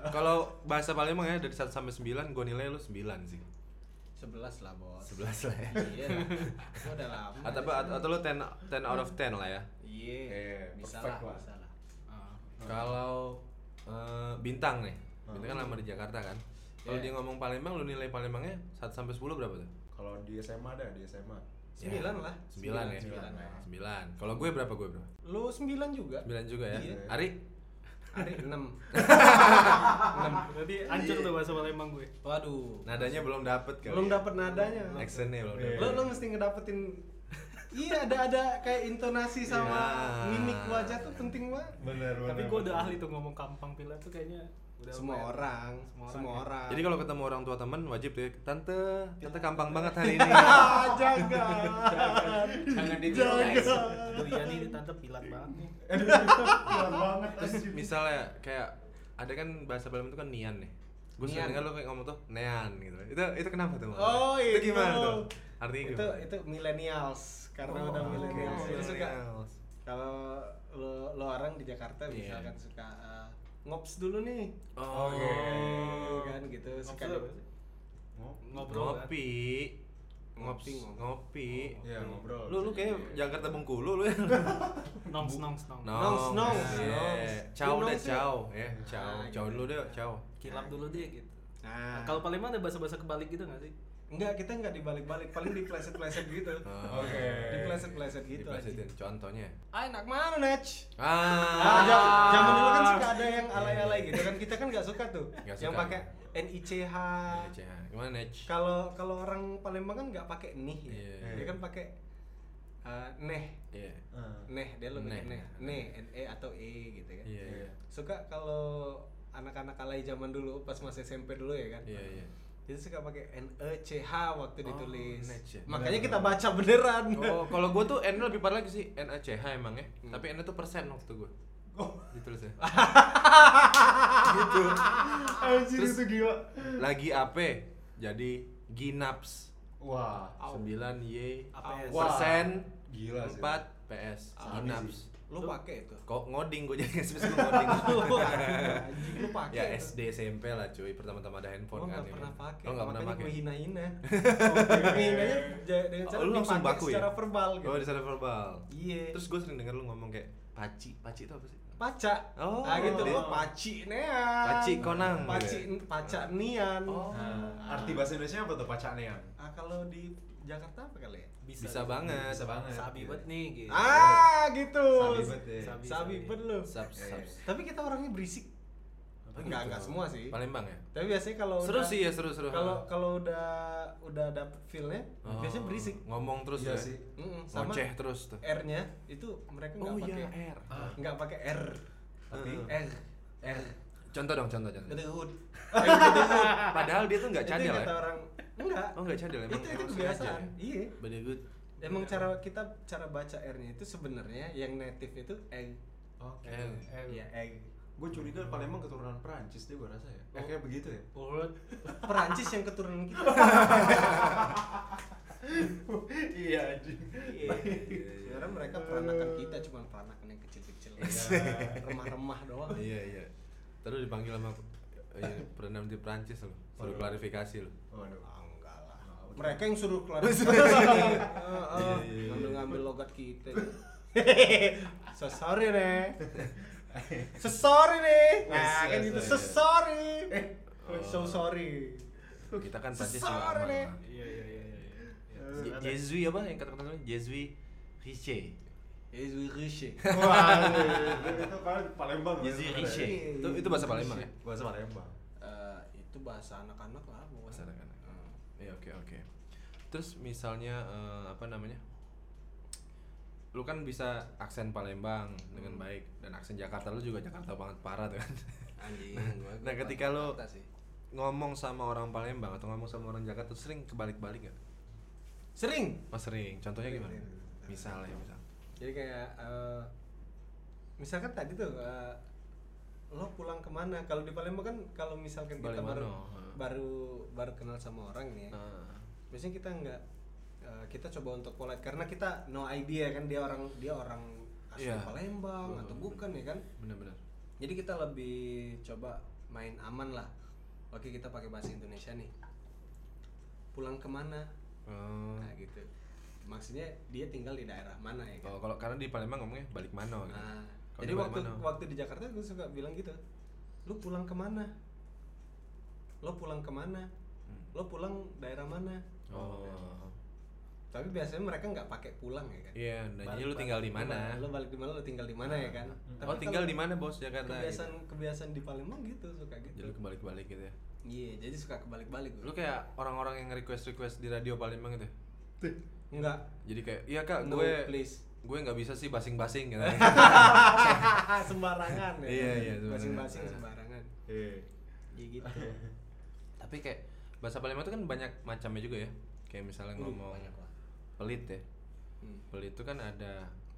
Speaker 3: Kalau bahasa Palembang ya dari 1 sampai 9 gue nilai lu 9 sih.
Speaker 4: Sebelas lah bos
Speaker 3: 11 lah ya.
Speaker 4: Iya lah Gua udah lama
Speaker 3: Atau
Speaker 4: di
Speaker 3: atau,
Speaker 4: sini.
Speaker 3: atau lu 10 10 out of 10 lah ya.
Speaker 4: Iya
Speaker 5: Iya,
Speaker 4: Bisa lah
Speaker 5: perfect lah.
Speaker 4: bisa lah.
Speaker 1: Ah.
Speaker 3: Kalau eh, bintang nih. Bintang kan lama di Jakarta kan. Kalau
Speaker 4: Ah. Iya.
Speaker 3: dia ngomong Palembang lu nilai Palembangnya 1 sampai 10 berapa tuh?
Speaker 5: Kalau di SMA dah, di SMA.
Speaker 4: Sembilan
Speaker 3: Ya,
Speaker 4: lah.
Speaker 3: Sembilan ya.
Speaker 4: Sembilan lah.
Speaker 3: Sembilan. Kalau gue berapa gue bro?
Speaker 4: Lu sembilan juga
Speaker 3: Sembilan juga ya.
Speaker 4: Iya.
Speaker 3: Ari?
Speaker 4: Ari enam
Speaker 1: berarti hancur tuh bahasa Palembang gue
Speaker 4: Waduh
Speaker 3: Nadanya belum dapet kali.
Speaker 4: Belum
Speaker 3: ya?
Speaker 4: dapet nadanya
Speaker 3: Actionnya belum
Speaker 5: Iya.
Speaker 3: dapet.
Speaker 4: Lu, lu mesti ngedapetin iya ada ada kayak intonasi sama
Speaker 3: Iya.
Speaker 4: mimik wajah tuh penting banget
Speaker 5: bener bener
Speaker 1: Tapi gue udah ahli tuh ngomong kampang pila tuh kayaknya udah
Speaker 4: semua
Speaker 1: lumayan.
Speaker 4: orang
Speaker 1: Semua
Speaker 4: semua
Speaker 1: orang,
Speaker 4: orang
Speaker 3: ya? Jadi kalau ketemu orang tua temen wajib deh, tante,
Speaker 4: Iya.
Speaker 3: tante kampang banget hari ini.
Speaker 5: ah jangan
Speaker 4: jangan
Speaker 1: Jangan.
Speaker 4: ditiru
Speaker 1: Aduh iya nih tante pilat banget nih.
Speaker 5: Keren banget anjing.
Speaker 3: Misalnya kayak ada kan bahasa Palembang itu kan nian nih. Gue
Speaker 4: Nian.
Speaker 3: sering dengar lo kayak ngomong tuh nean gitu. Itu itu kenapa tuh? Bang?
Speaker 4: Oh,
Speaker 3: itu
Speaker 4: itu.
Speaker 3: gimana tuh? Artinya
Speaker 4: itu
Speaker 3: gimana?
Speaker 4: itu millennials karena
Speaker 3: Oh,
Speaker 4: udah
Speaker 3: oke.
Speaker 4: millennials Jadi suka
Speaker 3: Millennials.
Speaker 4: kalau lo, lo orang di Jakarta
Speaker 3: Iya.
Speaker 4: misalkan suka uh, ngops dulu nih
Speaker 3: Oh,
Speaker 4: Oke,
Speaker 3: oke. Eh,
Speaker 4: kan gitu suka
Speaker 1: Ngobrol apa
Speaker 4: di-
Speaker 1: sih? Ngobrol. kan?
Speaker 3: Ngopi.
Speaker 5: Ngopi.
Speaker 3: Ngopi,
Speaker 4: Ngopi,
Speaker 3: ngopi.
Speaker 5: Iya, ngobrol.
Speaker 3: Lu lu kayak Jakarta Bengkulu lu ya.
Speaker 1: Nongs nongs nongs.
Speaker 4: Nongs, nongs,
Speaker 3: Iya.
Speaker 4: nongs.
Speaker 3: Ciao
Speaker 4: Lu
Speaker 3: deh,
Speaker 4: nongs ya?
Speaker 3: ciao ya. Ciao.
Speaker 4: Ah,
Speaker 3: Ciao
Speaker 4: gitu.
Speaker 3: dulu deh, ciao.
Speaker 1: Kilap dulu deh gitu.
Speaker 4: nah,
Speaker 1: Nah, kalau Palembang ada bahasa-bahasa kebalik gitu gak sih?
Speaker 4: enggak kita enggak dibalik-balik paling dipleset-pleset gitu
Speaker 3: Ah.
Speaker 5: Oke.
Speaker 4: dipleset-pleset gitu
Speaker 3: Diplesetin contohnya.
Speaker 4: anjing. ah enak mana Nech
Speaker 3: Ah.
Speaker 4: Ah, ja- zaman dulu kan suka ada yang alay-alay gitu kan kita kan nggak suka tuh
Speaker 3: Nggak
Speaker 4: yang
Speaker 3: suka.
Speaker 4: pakai NICH
Speaker 3: Iya, Gimana, Nech?
Speaker 4: kalau kalau orang Palembang kan nggak pakai nih ya.
Speaker 3: Iya.
Speaker 4: dia kan pakai uh, neh
Speaker 3: Iya.
Speaker 5: Ah.
Speaker 4: neh dia lebih
Speaker 3: Neh.
Speaker 4: neh neh, neh NE atau E gitu kan
Speaker 3: Iya, iya.
Speaker 4: suka kalau anak-anak alay zaman dulu pas masih SMP dulu ya kan
Speaker 3: Iya, iya.
Speaker 4: itu suka pakai NECH waktu
Speaker 3: Oh,
Speaker 4: ditulis
Speaker 3: NECH.
Speaker 4: makanya kita baca beneran
Speaker 3: Oh, kalau gue tuh N lebih parah lagi sih, N A C H emang ya.
Speaker 4: Hmm.
Speaker 3: Tapi N itu persen waktu gue.
Speaker 5: Oh.
Speaker 3: Ditulisnya.
Speaker 5: gitu anjir
Speaker 3: Terus-
Speaker 5: itu gila
Speaker 3: Lagi AP jadi Ginaps
Speaker 5: wah
Speaker 3: 9 Y
Speaker 1: APS.
Speaker 5: Wah.
Speaker 3: persen
Speaker 5: gila sih
Speaker 3: 4 PS
Speaker 5: Sama
Speaker 3: Ginaps.
Speaker 5: sih.
Speaker 4: lu pakai itu
Speaker 3: Kok ngoding gue jadi SBS gue ngoding.
Speaker 4: Anjing, lu pakai
Speaker 3: ya
Speaker 4: itu.
Speaker 3: SD SMP lah cuy, pertama-tama ada handphone
Speaker 4: Gua
Speaker 3: kan.
Speaker 4: nggak
Speaker 3: ya.
Speaker 4: pernah pakai,
Speaker 3: Lo nggak pernah
Speaker 4: makanya gue
Speaker 3: pakai.
Speaker 4: hina-hina. Gue hinanya ja- dengan cara
Speaker 3: Oh, lu langsung
Speaker 4: dipakai
Speaker 3: baku ya?
Speaker 4: secara verbal gitu.
Speaker 3: Oh, di sana verbal.
Speaker 4: Iya.
Speaker 3: Terus gue sering denger lu ngomong kayak paci, paci itu apa sih?
Speaker 4: paca.
Speaker 3: Oh.
Speaker 4: ah gitu
Speaker 3: Dia-
Speaker 4: lu paci nean.
Speaker 3: Paci konang.
Speaker 4: Paci
Speaker 3: gitu.
Speaker 4: paca nian.
Speaker 3: Oh.
Speaker 5: Nah, arti bahasa Indonesia apa tuh pacanean
Speaker 4: Ah kalau di Jakarta apa kali ya?
Speaker 3: Bisa banget.
Speaker 5: Bisa banget.
Speaker 1: Sabi
Speaker 5: Iya.
Speaker 1: banget nih gitu.
Speaker 4: Ah, gitu.
Speaker 5: Sabi bet ya.
Speaker 1: Sabi.
Speaker 4: Sabi bet lu.
Speaker 3: Sub, sub.
Speaker 4: Tapi kita orangnya berisik. Enggak, enggak semua sih.
Speaker 3: Palembang ya?
Speaker 4: Tapi biasanya kalau
Speaker 3: Seru
Speaker 4: udah-
Speaker 3: sih ya, seru-seru.
Speaker 4: Kalau kalau udah udah dapet feelnya,
Speaker 3: Oh,
Speaker 4: biasanya berisik.
Speaker 3: Ngomong terus
Speaker 5: Iya
Speaker 3: ya.
Speaker 5: sih.
Speaker 4: Mm-mm, sama
Speaker 3: Ngoceh terus tuh.
Speaker 4: R-nya itu mereka nggak
Speaker 3: Oh
Speaker 4: pakai
Speaker 3: iya, R.
Speaker 5: Ah,
Speaker 4: nggak pakai R
Speaker 5: tapi
Speaker 4: R R
Speaker 3: Contoh dong, contoh contoh.
Speaker 4: gede hood
Speaker 3: Eh, Padahal dia tuh nggak cadel
Speaker 4: itu kata
Speaker 3: ya.
Speaker 4: orang enggak
Speaker 3: Oh nggak cadel emang.
Speaker 4: itu itu kebiasaan iya
Speaker 3: Bedegut.
Speaker 4: emang cara kita cara baca R-nya itu sebenarnya yang native itu egg
Speaker 5: oke
Speaker 3: Eh,
Speaker 4: ya egg
Speaker 5: gue curiga Palembang keturunan Perancis deh gue rasa ya Eh, kayak begitu ya
Speaker 1: Urut.
Speaker 4: Perancis yang keturunan kita
Speaker 5: iya anjing
Speaker 3: iya,
Speaker 4: sebenarnya mereka peranakan kita cuma peranakan yang kecil-kecil remah-remah doang
Speaker 3: Iya iya. Terus dipanggil sama eh, perenang di Prancis loh. Suruh
Speaker 5: Waduh.
Speaker 3: klarifikasi loh.
Speaker 5: waduh
Speaker 4: Ah, enggak lah
Speaker 5: Ah, udah.
Speaker 4: mereka yang suruh keluar ngambil ngambil logat kita so sorry nih so sorry nih
Speaker 5: Yes,
Speaker 4: nah kan
Speaker 5: yes,
Speaker 4: gitu
Speaker 5: yes.
Speaker 4: so sorry Eh, so sorry
Speaker 3: Kita kan Prancis juga
Speaker 4: Sesar
Speaker 3: aman.
Speaker 4: nih.
Speaker 3: lah.
Speaker 1: Iya iya iya iya.
Speaker 5: Eh,
Speaker 1: iya.
Speaker 3: Je- Jesui apa yang kata-kata lu? Jesui
Speaker 4: Iya,
Speaker 3: Riche.
Speaker 4: Yesus Rishi
Speaker 5: wah itu Pal- Palembang ya,
Speaker 3: Jesui
Speaker 4: iya.
Speaker 5: sebenarnya.
Speaker 3: Riche. Itu itu bahasa Palembang ya?
Speaker 5: bahasa Palembang
Speaker 4: Eh, itu bahasa anak-anak lah Eh, bukan
Speaker 3: Bahasa anak-anak.
Speaker 4: Hmm.
Speaker 3: Iya oke oke. Terus misalnya eh, apa namanya? Lu kan bisa aksen Palembang dengan
Speaker 4: Hmm.
Speaker 3: baik dan aksen Jakarta lu juga Jakarta banget parah tuh kan.
Speaker 4: anjing gua
Speaker 3: nah,
Speaker 4: gua
Speaker 3: ketika lo-
Speaker 4: kata sih.
Speaker 3: ngomong sama orang Palembang atau ngomong sama orang Jakarta tuh sering kebalik-balik gak?
Speaker 4: sering
Speaker 3: Oh sering. Contohnya gimana? Misalnya misal.
Speaker 4: jadi kayak eh, misalkan tadi tuh eh, lo pulang kemana kalau di Palembang kan kalau misalkan kita
Speaker 3: Balemano,
Speaker 4: baru
Speaker 3: eh.
Speaker 4: baru baru kenal sama orang nih ya,
Speaker 3: Ah,
Speaker 4: biasanya kita nggak eh, kita coba untuk polite karena kita no idea kan dia orang dia orang asli
Speaker 3: Iya.
Speaker 4: Palembang atau bukan ya kan
Speaker 3: Bener-bener.
Speaker 4: jadi kita lebih coba main aman lah oke kita pakai bahasa Indonesia nih pulang kemana
Speaker 3: Oh.
Speaker 4: nah gitu maksudnya dia tinggal di daerah mana ya kan
Speaker 3: Oh, kalau karena di Palembang ngomongnya balik mano gitu.
Speaker 4: Nah,
Speaker 3: Kalau
Speaker 4: jadi
Speaker 3: di
Speaker 4: waktu
Speaker 3: Balemano.
Speaker 4: waktu di Jakarta gue suka bilang gitu. Lu pulang kemana? Lo pulang kemana? Lo pulang daerah mana?
Speaker 3: Hmm. Oh.
Speaker 4: Tapi biasanya mereka nggak pakai pulang ya kan?
Speaker 3: Iya, nanya lu tinggal di mana?
Speaker 4: Lo balik di mana? Lo tinggal di mana ya kan? Tapi
Speaker 3: Oh, tinggal
Speaker 4: kalau
Speaker 3: di mana, Bos? Jakarta. gitu.
Speaker 4: Kebiasaan kebiasaan di Palembang gitu suka
Speaker 3: Jadi
Speaker 4: gitu.
Speaker 3: lu kebalik-balik gitu ya.
Speaker 4: Iya, jadi suka kebalik-balik gue.
Speaker 3: Lu kayak orang-orang yang request-request di radio Palembang itu.
Speaker 4: Enggak.
Speaker 3: ya? Jadi kayak, iya kak,
Speaker 4: No,
Speaker 3: gue
Speaker 4: please.
Speaker 3: gue nggak bisa sih basing-basing gitu.
Speaker 4: sembarangan ya.
Speaker 3: Iya, iya, sembarangan.
Speaker 4: Masing-masing sembarangan.
Speaker 5: Eh.
Speaker 4: Ya gitu.
Speaker 3: Tapi kayak bahasa Palembang itu kan banyak macamnya juga ya. Kayak misalnya
Speaker 4: Uh,
Speaker 3: ngomong
Speaker 4: banyak lah.
Speaker 3: pelit ya.
Speaker 4: Hmm.
Speaker 3: Pelit itu kan ada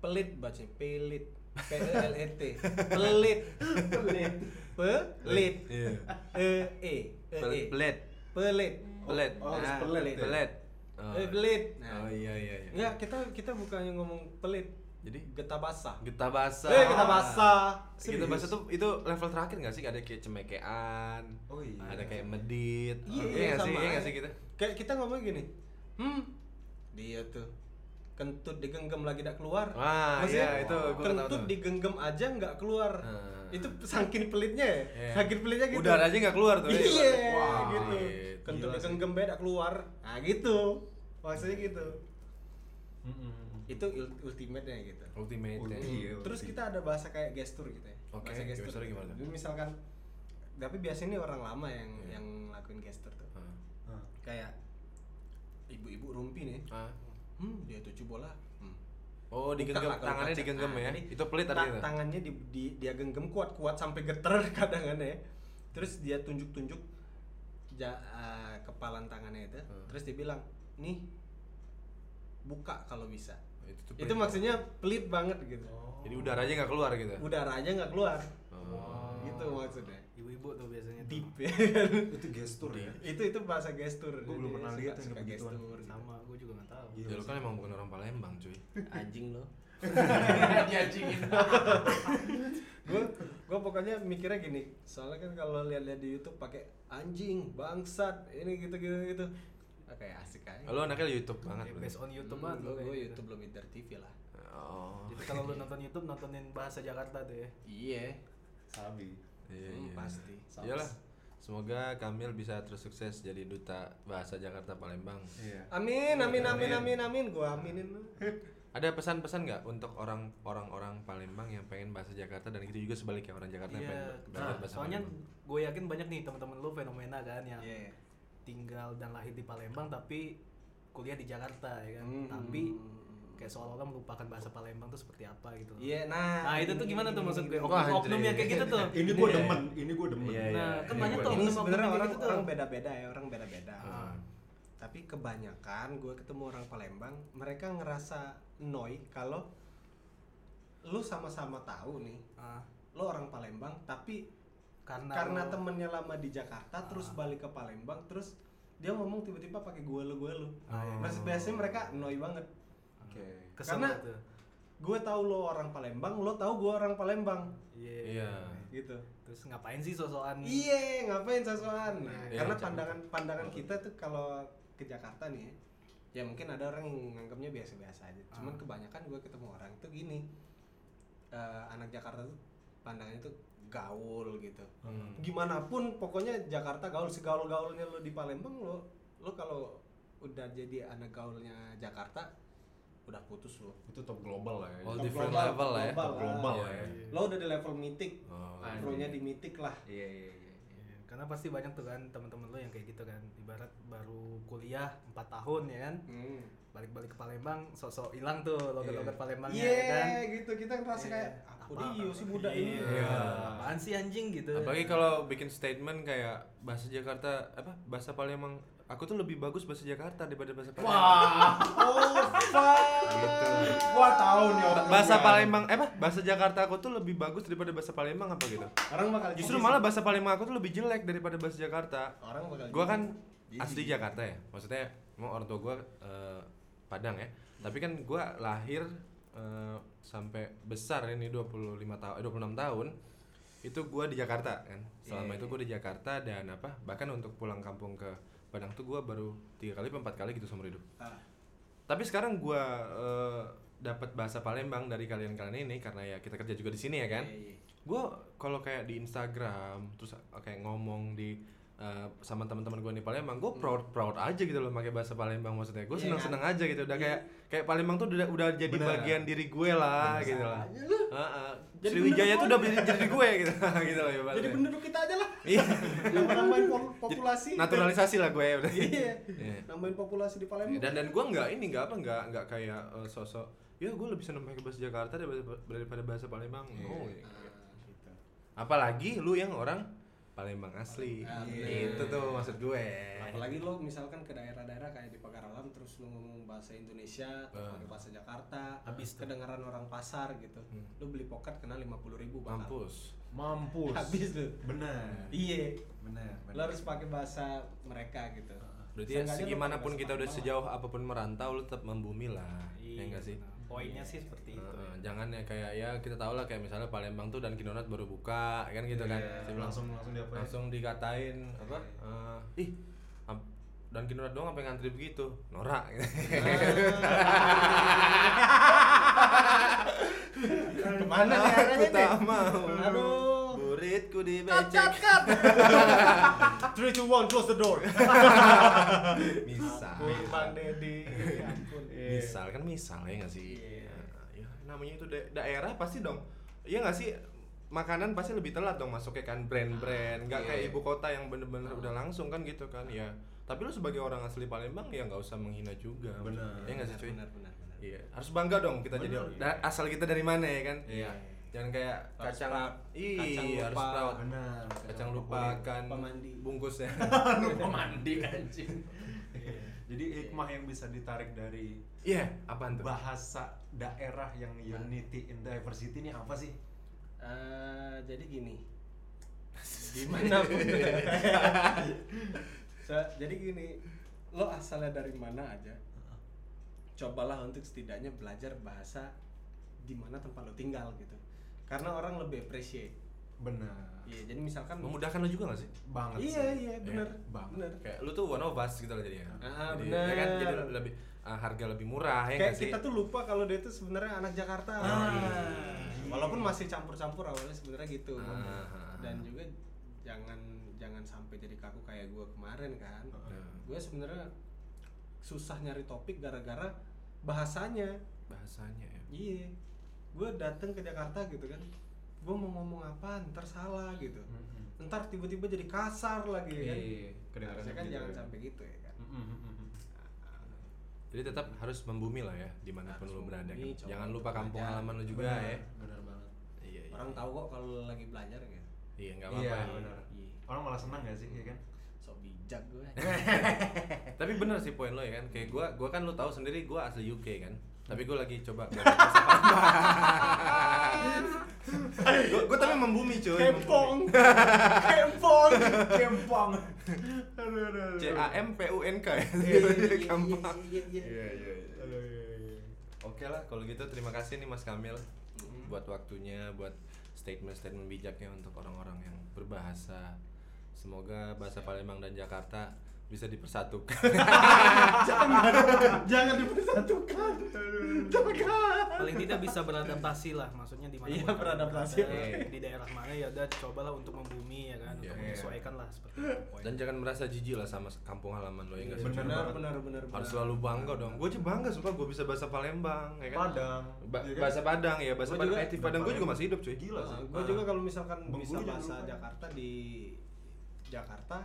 Speaker 4: Pelit bacanya, pelit. P E L E T. Pelit. Pelit. Pelit.
Speaker 3: Iya.
Speaker 4: E E E E.
Speaker 3: Pel- Pelit.
Speaker 4: Pelit.
Speaker 3: Pelit.
Speaker 5: Oh, harus
Speaker 3: Nah,
Speaker 5: pelit ya?
Speaker 3: Pelit. Oh.
Speaker 4: Eh, pelit.
Speaker 3: Oh
Speaker 4: Nah.
Speaker 3: iya iya iya.
Speaker 4: Enggak, kita kita bukannya ngomong pelit,
Speaker 3: Jadi
Speaker 4: getah basah.
Speaker 3: Gita bahasa.
Speaker 4: Eh, getah basah.
Speaker 3: Kita bahasa Gitu, tuh itu level terakhir nggak sih? Ada kayak cemekean,
Speaker 5: Oh iya.
Speaker 3: ada kayak medit.
Speaker 4: Iya,
Speaker 3: iya nggak sih?
Speaker 4: sama
Speaker 3: Iya nggak
Speaker 4: aja.
Speaker 3: sih kita?
Speaker 4: Kayak kita ngomong gini. Hmm. Dia tuh kentut digenggam lagi tidak keluar.
Speaker 3: Wah,
Speaker 4: Maksudnya,
Speaker 3: iya, itu gua tahu
Speaker 4: kentut
Speaker 3: tuh.
Speaker 4: digenggam aja nggak keluar.
Speaker 3: Hmm.
Speaker 4: Itu saking pelitnya ya.
Speaker 3: Iya.
Speaker 4: Saking pelitnya gitu.
Speaker 3: Udara aja nggak keluar tuh. ya.
Speaker 4: Iya,
Speaker 3: Wah,
Speaker 4: gitu.
Speaker 3: iya.
Speaker 4: Kentut
Speaker 5: Gila sih.
Speaker 4: digenggam beda keluar. Nah, gitu. Maksudnya gitu.
Speaker 5: Mm-mm.
Speaker 4: Itu ul- ultimate-nya gitu.
Speaker 3: Ultimate. ya.
Speaker 5: Ulti. Iya,
Speaker 4: Terus
Speaker 5: ulti.
Speaker 4: kita ada bahasa kayak gestur gitu ya.
Speaker 3: Oke,
Speaker 4: bahasa
Speaker 3: gestur gimana?
Speaker 4: Jadi misalkan tapi biasanya ini orang lama yang
Speaker 3: Iya.
Speaker 4: yang lakuin gestur tuh.
Speaker 3: Ah.
Speaker 5: Ah.
Speaker 4: Kayak ibu-ibu rumpi nih.
Speaker 3: Ah.
Speaker 4: Hmm, dia tujuh bola. Hmm.
Speaker 3: Oh, digenggam
Speaker 4: Bukan lah kalau
Speaker 3: tangannya
Speaker 4: kaca.
Speaker 3: digenggam
Speaker 4: Ah,
Speaker 3: ya.
Speaker 4: ini
Speaker 3: Itu pelit
Speaker 4: ta-
Speaker 3: artinya.
Speaker 4: Tangannya di, di- dia genggam kuat-kuat sampai geter kadangannya ya. Terus dia tunjuk-tunjuk ja- eh, kepalan tangannya itu.
Speaker 3: Hmm.
Speaker 4: Terus dia bilang, "Nih, buka kalau bisa."
Speaker 3: Itu tuh
Speaker 4: Itu
Speaker 3: pelit.
Speaker 4: maksudnya pelit banget gitu.
Speaker 5: Oh.
Speaker 3: Jadi udara aja nggak keluar gitu.
Speaker 4: Udara aja nggak keluar.
Speaker 3: Oh.
Speaker 4: Gitu maksudnya.
Speaker 1: Ibu-ibu tuh biasanya tuh.
Speaker 4: Deep ya kan?
Speaker 5: Itu gestur ya.
Speaker 4: itu itu bahasa gestur.
Speaker 5: Gua belum
Speaker 4: Jadi
Speaker 5: pernah
Speaker 4: suka-
Speaker 5: lihat yang
Speaker 4: suka
Speaker 5: begituan.
Speaker 4: gestur. gitu.
Speaker 1: sama, gue juga nggak tahu.
Speaker 5: Iya.
Speaker 3: Ya lu kan emang bukan orang Palembang, cuy.
Speaker 1: Anjing lo.
Speaker 4: gue gue pokoknya mikirnya gini soalnya kan kalau lihat-lihat di YouTube pakai anjing bangsat ini gitu gitu gitu Ah, kayak asik aja Hmm,
Speaker 3: Lu anaknya YouTube
Speaker 1: Ya,
Speaker 3: banget berarti.
Speaker 1: based on YouTube banget lo
Speaker 4: gue
Speaker 1: kayak gitu.
Speaker 4: YouTube lebih dari TV lah
Speaker 3: Oh.
Speaker 1: Jadi kalau lu nonton YouTube nontonin bahasa Jakarta tuh ya.
Speaker 4: iya
Speaker 5: Sabi.
Speaker 3: Iya,
Speaker 4: Hmm,
Speaker 3: iya.
Speaker 4: pasti.
Speaker 3: Iyalah. Semoga Kamil bisa terus sukses jadi duta bahasa Jakarta Palembang.
Speaker 5: Iya.
Speaker 4: amin amin amin
Speaker 3: Amin.
Speaker 4: amin amin gue aminin lu
Speaker 3: Ada pesan-pesan nggak untuk orang- orang-orang Palembang yang pengen bahasa Jakarta dan gitu juga sebaliknya orang Jakarta yang pengen
Speaker 1: Iya.
Speaker 3: ba- belajar
Speaker 1: Nah,
Speaker 3: bahasa
Speaker 1: soalnya
Speaker 3: Palembang.
Speaker 1: gue yakin banyak nih teman-teman lu fenomena kan yang
Speaker 4: Iya.
Speaker 1: tinggal dan lahir di Palembang tapi kuliah di Jakarta ya kan.
Speaker 4: Hmm.
Speaker 1: Tapi kayak seolah-olah melupakan bahasa Palembang tuh seperti apa gitu. loh.
Speaker 4: iya nah
Speaker 1: Nah, itu tuh gimana tuh maksud gue?
Speaker 3: Wah,
Speaker 1: Oknum-oknum
Speaker 3: anjir.
Speaker 1: yang kayak gitu tuh.
Speaker 5: Ini gue demen, ini gue demen.
Speaker 3: Iya, iya.
Speaker 1: Nah, kan
Speaker 3: Ini
Speaker 1: banyak
Speaker 3: gua
Speaker 1: tuh
Speaker 4: ini
Speaker 1: oknum-oknum
Speaker 4: sebenarnya
Speaker 1: yang kayak
Speaker 4: orang
Speaker 1: gitu tuh.
Speaker 4: orang beda beda ya orang beda beda
Speaker 3: Ah.
Speaker 4: tapi kebanyakan gue ketemu orang Palembang mereka ngerasa noy kalau lu sama-sama tahu nih
Speaker 1: Ah,
Speaker 4: lu orang Palembang tapi
Speaker 1: karena
Speaker 4: karena
Speaker 1: lu- Ah.
Speaker 4: temennya lama di Jakarta terus balik ke Palembang terus dia ngomong tiba-tiba pakai gue lu gue lu
Speaker 1: Ah, iya.
Speaker 4: Mas- biasanya mereka annoy banget
Speaker 5: Oke.
Speaker 1: kesel
Speaker 4: karena-
Speaker 1: tuh.
Speaker 4: gue tahu lo orang Palembang lo tahu gue orang Palembang
Speaker 1: Iya.
Speaker 3: Iya.
Speaker 4: gitu
Speaker 1: Terus ngapain sih sosokan?
Speaker 4: iya ngapain sosokan nah,
Speaker 3: Iya,
Speaker 4: karena
Speaker 3: macam-
Speaker 4: pandangan pandangan kita tuh kalau ke Jakarta nih ya, ya mungkin ada orang yang nganggapnya biasa-biasa aja
Speaker 3: Ah.
Speaker 4: cuman kebanyakan gue ketemu orang tuh gini eh, anak Jakarta tuh pandangannya tuh gaul gitu
Speaker 3: Hmm.
Speaker 4: gimana pun pokoknya Jakarta gaul segaul gaulnya lo di Palembang lo lo kalau udah jadi anak gaulnya Jakarta udah putus lo
Speaker 5: Itu top global lah ya.
Speaker 3: All
Speaker 4: Oh, Top
Speaker 3: Oh, different
Speaker 4: global,
Speaker 3: level lah ya.
Speaker 4: global.
Speaker 5: global
Speaker 3: Iya,
Speaker 5: lah ya.
Speaker 3: iya.
Speaker 4: lo udah di level mitik
Speaker 3: Oh.
Speaker 5: Anjing.
Speaker 4: pro nya di mitik lah
Speaker 5: Iya iya iya.
Speaker 1: Iya, Karena pasti banyak tuh kan teman-teman lo yang kayak gitu kan. Ibarat baru kuliah 4 tahun ya kan.
Speaker 4: hmm.
Speaker 1: Balik-balik ke Palembang sosok hilang tuh logat-logat Palembangnya
Speaker 4: iya
Speaker 1: ya kan.
Speaker 4: gitu kita ngerasa
Speaker 1: Iya.
Speaker 4: kayak aku dia si budak ini
Speaker 3: Iya.
Speaker 1: Nah, Apaan sih anjing gitu.
Speaker 3: Apalagi kalau bikin statement kayak bahasa Jakarta apa bahasa Palembang aku tuh lebih bagus bahasa Jakarta daripada bahasa Palembang. Gitu.
Speaker 4: oh fuck
Speaker 5: Gua tahu nih
Speaker 3: Ba-
Speaker 5: orang.
Speaker 3: Bahasa Palembang eh apa bahasa Jakarta aku tuh lebih bagus daripada bahasa Palembang apa gitu.
Speaker 4: orang bakal
Speaker 3: Justru
Speaker 4: jijik.
Speaker 3: malah bahasa Palembang aku tuh lebih jelek daripada bahasa Jakarta.
Speaker 4: orang bakal
Speaker 3: Gua
Speaker 4: jijik.
Speaker 3: kan asli Jakarta ya. Maksudnya emang orang tua gua eh, Padang ya. Tapi kan gua lahir eh, sampai besar ini 25 tahun eh, 26 tahun itu gua di Jakarta kan. Selama itu gua di Jakarta dan apa? Bahkan untuk pulang kampung ke Padang tuh gua baru tiga kali apa empat kali gitu seumur hidup.
Speaker 4: Ah.
Speaker 3: Tapi sekarang gua eh, dapat bahasa Palembang dari kalian-kalian ini karena ya kita kerja juga di sini ya kan
Speaker 4: Iya, iya.
Speaker 3: gue kalau kayak di Instagram terus kayak eh, ngomong di eh, sama teman-teman gue di Palembang, gue proud proud aja gitu loh pakai bahasa Palembang maksudnya. Gue
Speaker 4: Hmm. Iya
Speaker 3: seneng seneng aja gitu, udah kayak kayak Palembang tuh udah udah jadi
Speaker 5: Bener.
Speaker 3: bagian diri gue lah gitu lah. Heeh.
Speaker 4: Jadi
Speaker 3: Sriwijaya
Speaker 4: bener
Speaker 3: tuh
Speaker 4: gua.
Speaker 3: udah jadi jadi gue gitu, gitu loh
Speaker 4: Jadi
Speaker 3: ibaratnya.
Speaker 4: penduduk kita aja lah.
Speaker 3: Iya,
Speaker 4: Yang nambahin pol- populasi.
Speaker 3: naturalisasi lah gue udah.
Speaker 4: Iya.
Speaker 3: Iya.
Speaker 4: Nambahin populasi di Palembang.
Speaker 3: dan dan gue nggak ini nggak apa nggak nggak kayak eh, sosok ya gue lebih seneng pakai bahasa Jakarta daripada daripada bahasa Palembang
Speaker 4: Iya.
Speaker 3: No. ya.
Speaker 4: Gitu.
Speaker 3: apalagi lu yang orang Palembang asli
Speaker 4: Asli.
Speaker 3: itu tuh maksud gue
Speaker 4: Iya. Apalagi lo misalkan ke daerah-daerah kayak di Pekarangan terus lo ngomong bahasa Indonesia,
Speaker 3: Ah.
Speaker 4: pakai bahasa Jakarta,
Speaker 1: Habis tuh.
Speaker 4: kedengaran orang pasar gitu.
Speaker 3: Hmm.
Speaker 4: Lo beli pocket kena 50 ribu
Speaker 3: mampus
Speaker 5: Mampus.
Speaker 4: Habis lo.
Speaker 5: Benar.
Speaker 4: Iya.
Speaker 5: Benar.
Speaker 4: Lo harus pakai bahasa mereka gitu.
Speaker 3: berarti ya,
Speaker 4: Seenggaknya lo
Speaker 3: segimana
Speaker 4: pakai
Speaker 3: pun kita
Speaker 4: bahasa
Speaker 3: udah
Speaker 4: Palembang Iya,
Speaker 3: sejauh apapun merantau lu tetap membumi lah ya nggak sih
Speaker 1: Poinnya sih seperti itu.
Speaker 4: Gitu
Speaker 3: Heeh, jangan ya kayak ya kita tau lah kayak misalnya Palembang tuh dan Kinonat baru buka kan gitu kan
Speaker 4: Iya,
Speaker 3: Terus langsung
Speaker 5: Ya, langsung langsung diapain?
Speaker 3: langsung dikatain apa eh, ih am- dan Kinonat doang apa yang ngantri begitu norak
Speaker 4: lah. Kemana nih
Speaker 3: Aku
Speaker 4: arahnya nih?
Speaker 3: tak mau
Speaker 4: Aduh.
Speaker 3: Buritku dibecek
Speaker 4: Three, two, one, close the door.
Speaker 3: Misal
Speaker 4: Ampun, Bang Deddy. Ya ampun.
Speaker 5: Iya.
Speaker 3: Misal kan misal ya nggak sih
Speaker 4: Iya.
Speaker 3: Ya, namanya itu da- daerah pasti dong Iya nggak sih makanan pasti lebih telat dong masuknya kan brand-brand
Speaker 4: Iya.
Speaker 3: nggak kayak ibu kota yang bener-bener
Speaker 4: Nah.
Speaker 3: udah langsung kan gitu kan ya tapi lu sebagai orang asli Palembang ya nggak usah menghina juga
Speaker 5: Bener.
Speaker 3: ya nggak sih cuy
Speaker 4: Benar, benar, benar.
Speaker 3: Iya, harus bangga dong kita jadi
Speaker 5: Bener,
Speaker 3: da- asal kita dari mana ya kan.
Speaker 5: Iya.
Speaker 3: Jangan kayak
Speaker 4: Harus
Speaker 3: kacang
Speaker 4: proud.
Speaker 3: iya,
Speaker 4: Kacang
Speaker 3: harus
Speaker 4: lupa.
Speaker 3: proud.
Speaker 5: Benar.
Speaker 3: Kacang lupakan
Speaker 4: Lupa mandi.
Speaker 3: bungkusnya.
Speaker 5: lupa mandi anjing. Jadi hikmah yang bisa ditarik dari
Speaker 3: Iya, apaan tuh?
Speaker 5: bahasa daerah yang unity in diversity ini apa sih?
Speaker 4: Eh, jadi gini. Gimana pun. So, jadi gini, lo asalnya dari mana aja. Cobalah untuk setidaknya belajar bahasa di mana tempat lo tinggal gitu. Karena orang lebih appreciate.
Speaker 5: Benar.
Speaker 4: Iya, jadi misalkan
Speaker 3: Memudahkan lo juga gak sih?
Speaker 5: Banget
Speaker 4: Iya,
Speaker 5: sih.
Speaker 4: iya, benar.
Speaker 5: Banget.
Speaker 4: Benar.
Speaker 3: Kayak lu tuh one of us gitu loh jadinya.
Speaker 4: Ah,
Speaker 3: Jadi, ya kan
Speaker 4: bener.
Speaker 3: jadi lebih ah, harga lebih murah ya
Speaker 4: Kayak
Speaker 3: nggak sih?
Speaker 4: kita tuh lupa kalau dia tuh sebenarnya anak Jakarta.
Speaker 3: Ah. iya.
Speaker 4: Walaupun masih campur-campur awalnya sebenarnya gitu.
Speaker 3: Ah.
Speaker 4: Dan juga jangan jangan sampai jadi kaku kayak gue kemarin kan.
Speaker 3: Nah,
Speaker 4: Gue sebenarnya susah nyari topik gara-gara bahasanya.
Speaker 3: bahasanya ya.
Speaker 4: Iya. Gue datang ke Jakarta gitu kan. Gue mau ngomong apa ntar salah gitu.
Speaker 5: Mm-mm.
Speaker 4: Ntar tiba-tiba jadi kasar lagi ya kan.
Speaker 5: Iya, kedengaran
Speaker 4: Harusnya kan
Speaker 5: gitu
Speaker 4: jangan
Speaker 5: ya.
Speaker 4: sampai gitu ya kan.
Speaker 5: Mm-mm, mm-mm.
Speaker 3: Jadi tetap harus membumi lah ya dimanapun
Speaker 4: Harus
Speaker 3: lu berada.
Speaker 4: membumi,
Speaker 3: kan.
Speaker 4: coba
Speaker 3: Jangan lupa
Speaker 4: untuk
Speaker 3: kampung
Speaker 4: belajar.
Speaker 3: halaman lu juga
Speaker 5: Benar,
Speaker 3: ya.
Speaker 5: Benar banget.
Speaker 3: Iya, iya.
Speaker 4: Orang tahu kok kalau lu lagi belajar gitu.
Speaker 3: Iya, enggak
Speaker 5: Iya,
Speaker 3: apa-apa.
Speaker 5: benar.
Speaker 4: Iya.
Speaker 5: Orang malah senang gak sih, ya kan?
Speaker 4: Sok bijak Iya, gue.
Speaker 3: Tapi bener sih poin lo ya kan. Kayak gua gua kan lu tahu sendiri gua asli UK kan. Tapi gua lagi coba belajar bahasa Palembang. Gua- Gua tapi membumi cuy. membumi.
Speaker 4: Kempong.
Speaker 5: Kempong. Aduh, aduh, aduh.
Speaker 3: C A M P U N K ya. Gampang.
Speaker 4: Iya, iya,
Speaker 3: Iya,
Speaker 4: iya.
Speaker 3: iya, iya.
Speaker 5: Aduh, iya, iya, iya.
Speaker 3: Oke lah, kalau gitu terima kasih nih Mas Kamil buat waktunya, buat statement-statement bijaknya untuk orang-orang yang berbahasa. Semoga bahasa Palembang dan Jakarta bisa dipersatukan.
Speaker 4: Jangan dipersatukan.
Speaker 1: Paling tidak bisa beradaptasi lah, maksudnya di mana
Speaker 4: Iya,
Speaker 1: pun kalian
Speaker 4: beradaptasi.
Speaker 1: berada,
Speaker 3: Iya.
Speaker 1: di daerah mana ya udah cobalah untuk membumi ya kan,
Speaker 3: Iya.
Speaker 1: untuk menyesuaikan lah seperti itu.
Speaker 4: iya.
Speaker 1: poin.
Speaker 3: dan jangan merasa jijik lah sama kampung halaman lo ya nggak sih?
Speaker 5: Bener
Speaker 4: Benar,
Speaker 5: banget.
Speaker 4: benar, benar.
Speaker 3: Harus
Speaker 4: benar.
Speaker 3: selalu bangga dong. Gue aja bangga sumpah gue bisa bahasa Palembang ya kan.
Speaker 5: Padang.
Speaker 3: Ba-
Speaker 5: Iya kan?
Speaker 3: bahasa Padang ya, bahasa
Speaker 4: Gua
Speaker 3: Padang
Speaker 4: juga-
Speaker 3: native Padang gue juga masih hidup cuy.
Speaker 5: Eh, Gila sih.
Speaker 4: gue juga kalau misalkan
Speaker 5: Bengkulu
Speaker 4: bisa
Speaker 5: jangan
Speaker 4: bahasa
Speaker 5: lupa.
Speaker 4: Jakarta di Jakarta,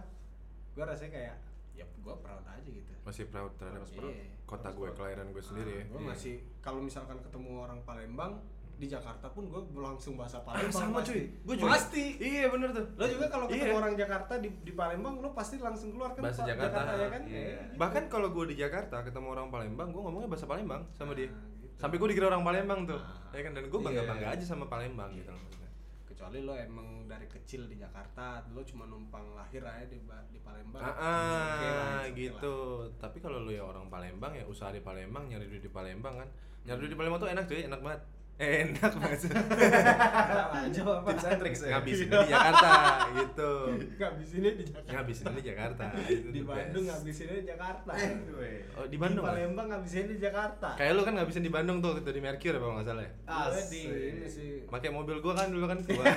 Speaker 4: gue rasanya kayak ya gue proud aja gitu.
Speaker 3: Masih proud terhadap
Speaker 4: Harus proud.
Speaker 3: kota gue, kelahiran gue sendiri ya.
Speaker 4: Gue
Speaker 3: Iya.
Speaker 4: Ah, masih kalau misalkan ketemu orang Palembang di Jakarta pun gue langsung bahasa
Speaker 3: Ah,
Speaker 4: Palembang.
Speaker 3: sama
Speaker 4: pasti.
Speaker 3: cuy. Gue juga.
Speaker 4: Pasti.
Speaker 3: Iya bener tuh.
Speaker 4: Lo juga kalau ketemu
Speaker 3: Iya.
Speaker 4: orang Jakarta di, di Palembang, lo pasti langsung keluar kan
Speaker 3: Bahasa
Speaker 4: Pak?
Speaker 3: Jakarta, ah,
Speaker 4: ya kan?
Speaker 5: iya.
Speaker 4: Iya.
Speaker 3: Bahkan kalau gue di Jakarta ketemu orang Palembang, gue ngomongnya bahasa Palembang sama dia.
Speaker 4: Nah, gitu.
Speaker 3: Sampai gue dikira orang Palembang tuh.
Speaker 4: Nah.
Speaker 3: Ya kan dan gue bangga-bangga
Speaker 4: iya.
Speaker 3: aja sama Palembang gitu loh maksudnya.
Speaker 4: Kecuali lo emang dari kecil di Jakarta, lo cuma numpang lahir aja di, Ba- di Palembang.
Speaker 3: Ah,
Speaker 4: it's okay lah,
Speaker 3: ah,
Speaker 4: it's okay lah.
Speaker 3: gitu. Tapi kalau lu ya orang Palembang ya usaha di Palembang, nyari duit di Palembang kan. Nyari duit di Palembang tuh enak cuy, enak banget. enak banget
Speaker 4: aja apa
Speaker 5: Tips and tricks ya.
Speaker 3: ngabisin di Jakarta gitu
Speaker 4: ngabisinnya di Jakarta
Speaker 3: ngabisin di Jakarta itu
Speaker 4: di
Speaker 3: the
Speaker 4: Bandung
Speaker 3: best.
Speaker 4: ngabisinnya di Jakarta
Speaker 5: Ah. Eh,
Speaker 3: oh di Bandung
Speaker 4: di
Speaker 3: ah?
Speaker 4: Palembang ngabisinnya di Jakarta
Speaker 3: kayak lu kan ngabisin di Bandung tuh waktu itu di Mercure apa nggak salah ya
Speaker 4: gue
Speaker 5: Asik.
Speaker 4: di ini sih
Speaker 3: pakai mobil gua kan dulu kan gua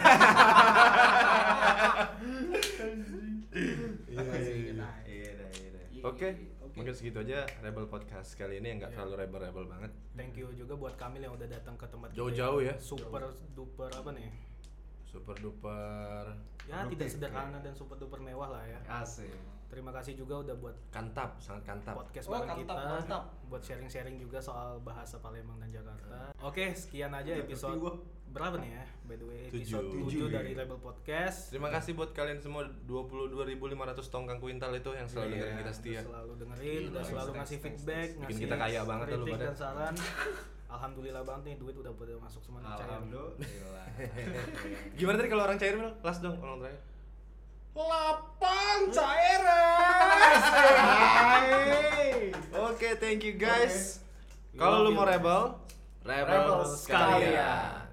Speaker 4: Iya, iya, iya.
Speaker 5: Iya dah, iya dah.
Speaker 4: Iya,
Speaker 3: Oke,
Speaker 4: iya, iya. Oke.
Speaker 3: mungkin segitu aja Rebel Podcast kali ini yang nggak
Speaker 1: Iya.
Speaker 3: terlalu rebel-rebel banget.
Speaker 1: Thank you juga buat Kamil yang udah datang ke tempat kita
Speaker 3: Jauh-jauh ya.
Speaker 1: Super duper apa nih?
Speaker 3: Super duper
Speaker 1: Ya
Speaker 5: Produktif,
Speaker 1: tidak sederhana dan super duper mewah lah
Speaker 5: Iya.
Speaker 1: ya.
Speaker 5: Asik.
Speaker 1: Terima kasih juga udah buat
Speaker 3: kantap, sangat kantap.
Speaker 1: podcast
Speaker 4: Wah,
Speaker 1: bareng kita
Speaker 4: mantap, mantap.
Speaker 1: buat sharing-sharing juga soal bahasa Palembang dan Jakarta.
Speaker 3: Iya.
Speaker 1: Oke, sekian aja episode berapa nih ya? By the way, episode
Speaker 3: Tujuh.
Speaker 1: 7 dari Rebel Podcast.
Speaker 3: Terima kasih buat kalian semua 22.500 tongkang kuintal itu yang selalu
Speaker 1: Iya,
Speaker 3: dengerin kita setia.
Speaker 1: udah selalu dengerin,
Speaker 3: Gila,
Speaker 1: udah
Speaker 3: thanks,
Speaker 1: selalu
Speaker 5: thanks,
Speaker 1: ngasih
Speaker 5: thanks,
Speaker 1: feedback,
Speaker 5: thanks.
Speaker 3: Bikin
Speaker 1: ngasih
Speaker 3: kita kaya banget dah lu
Speaker 1: kritik
Speaker 3: pada.
Speaker 1: dan saran. Alhamdulillah banget nih duit udah pada masuk semua nih cair.
Speaker 5: Alhamdulillah.
Speaker 3: Gimana tadi kalau orang cair mil? Kelas dong orang terakhir.
Speaker 5: Lapang cairan. Hai.
Speaker 3: Oke, thank you guys. Kalau lu mau rebel, rebel,
Speaker 5: Rebel
Speaker 3: sekalian.
Speaker 5: sekalian.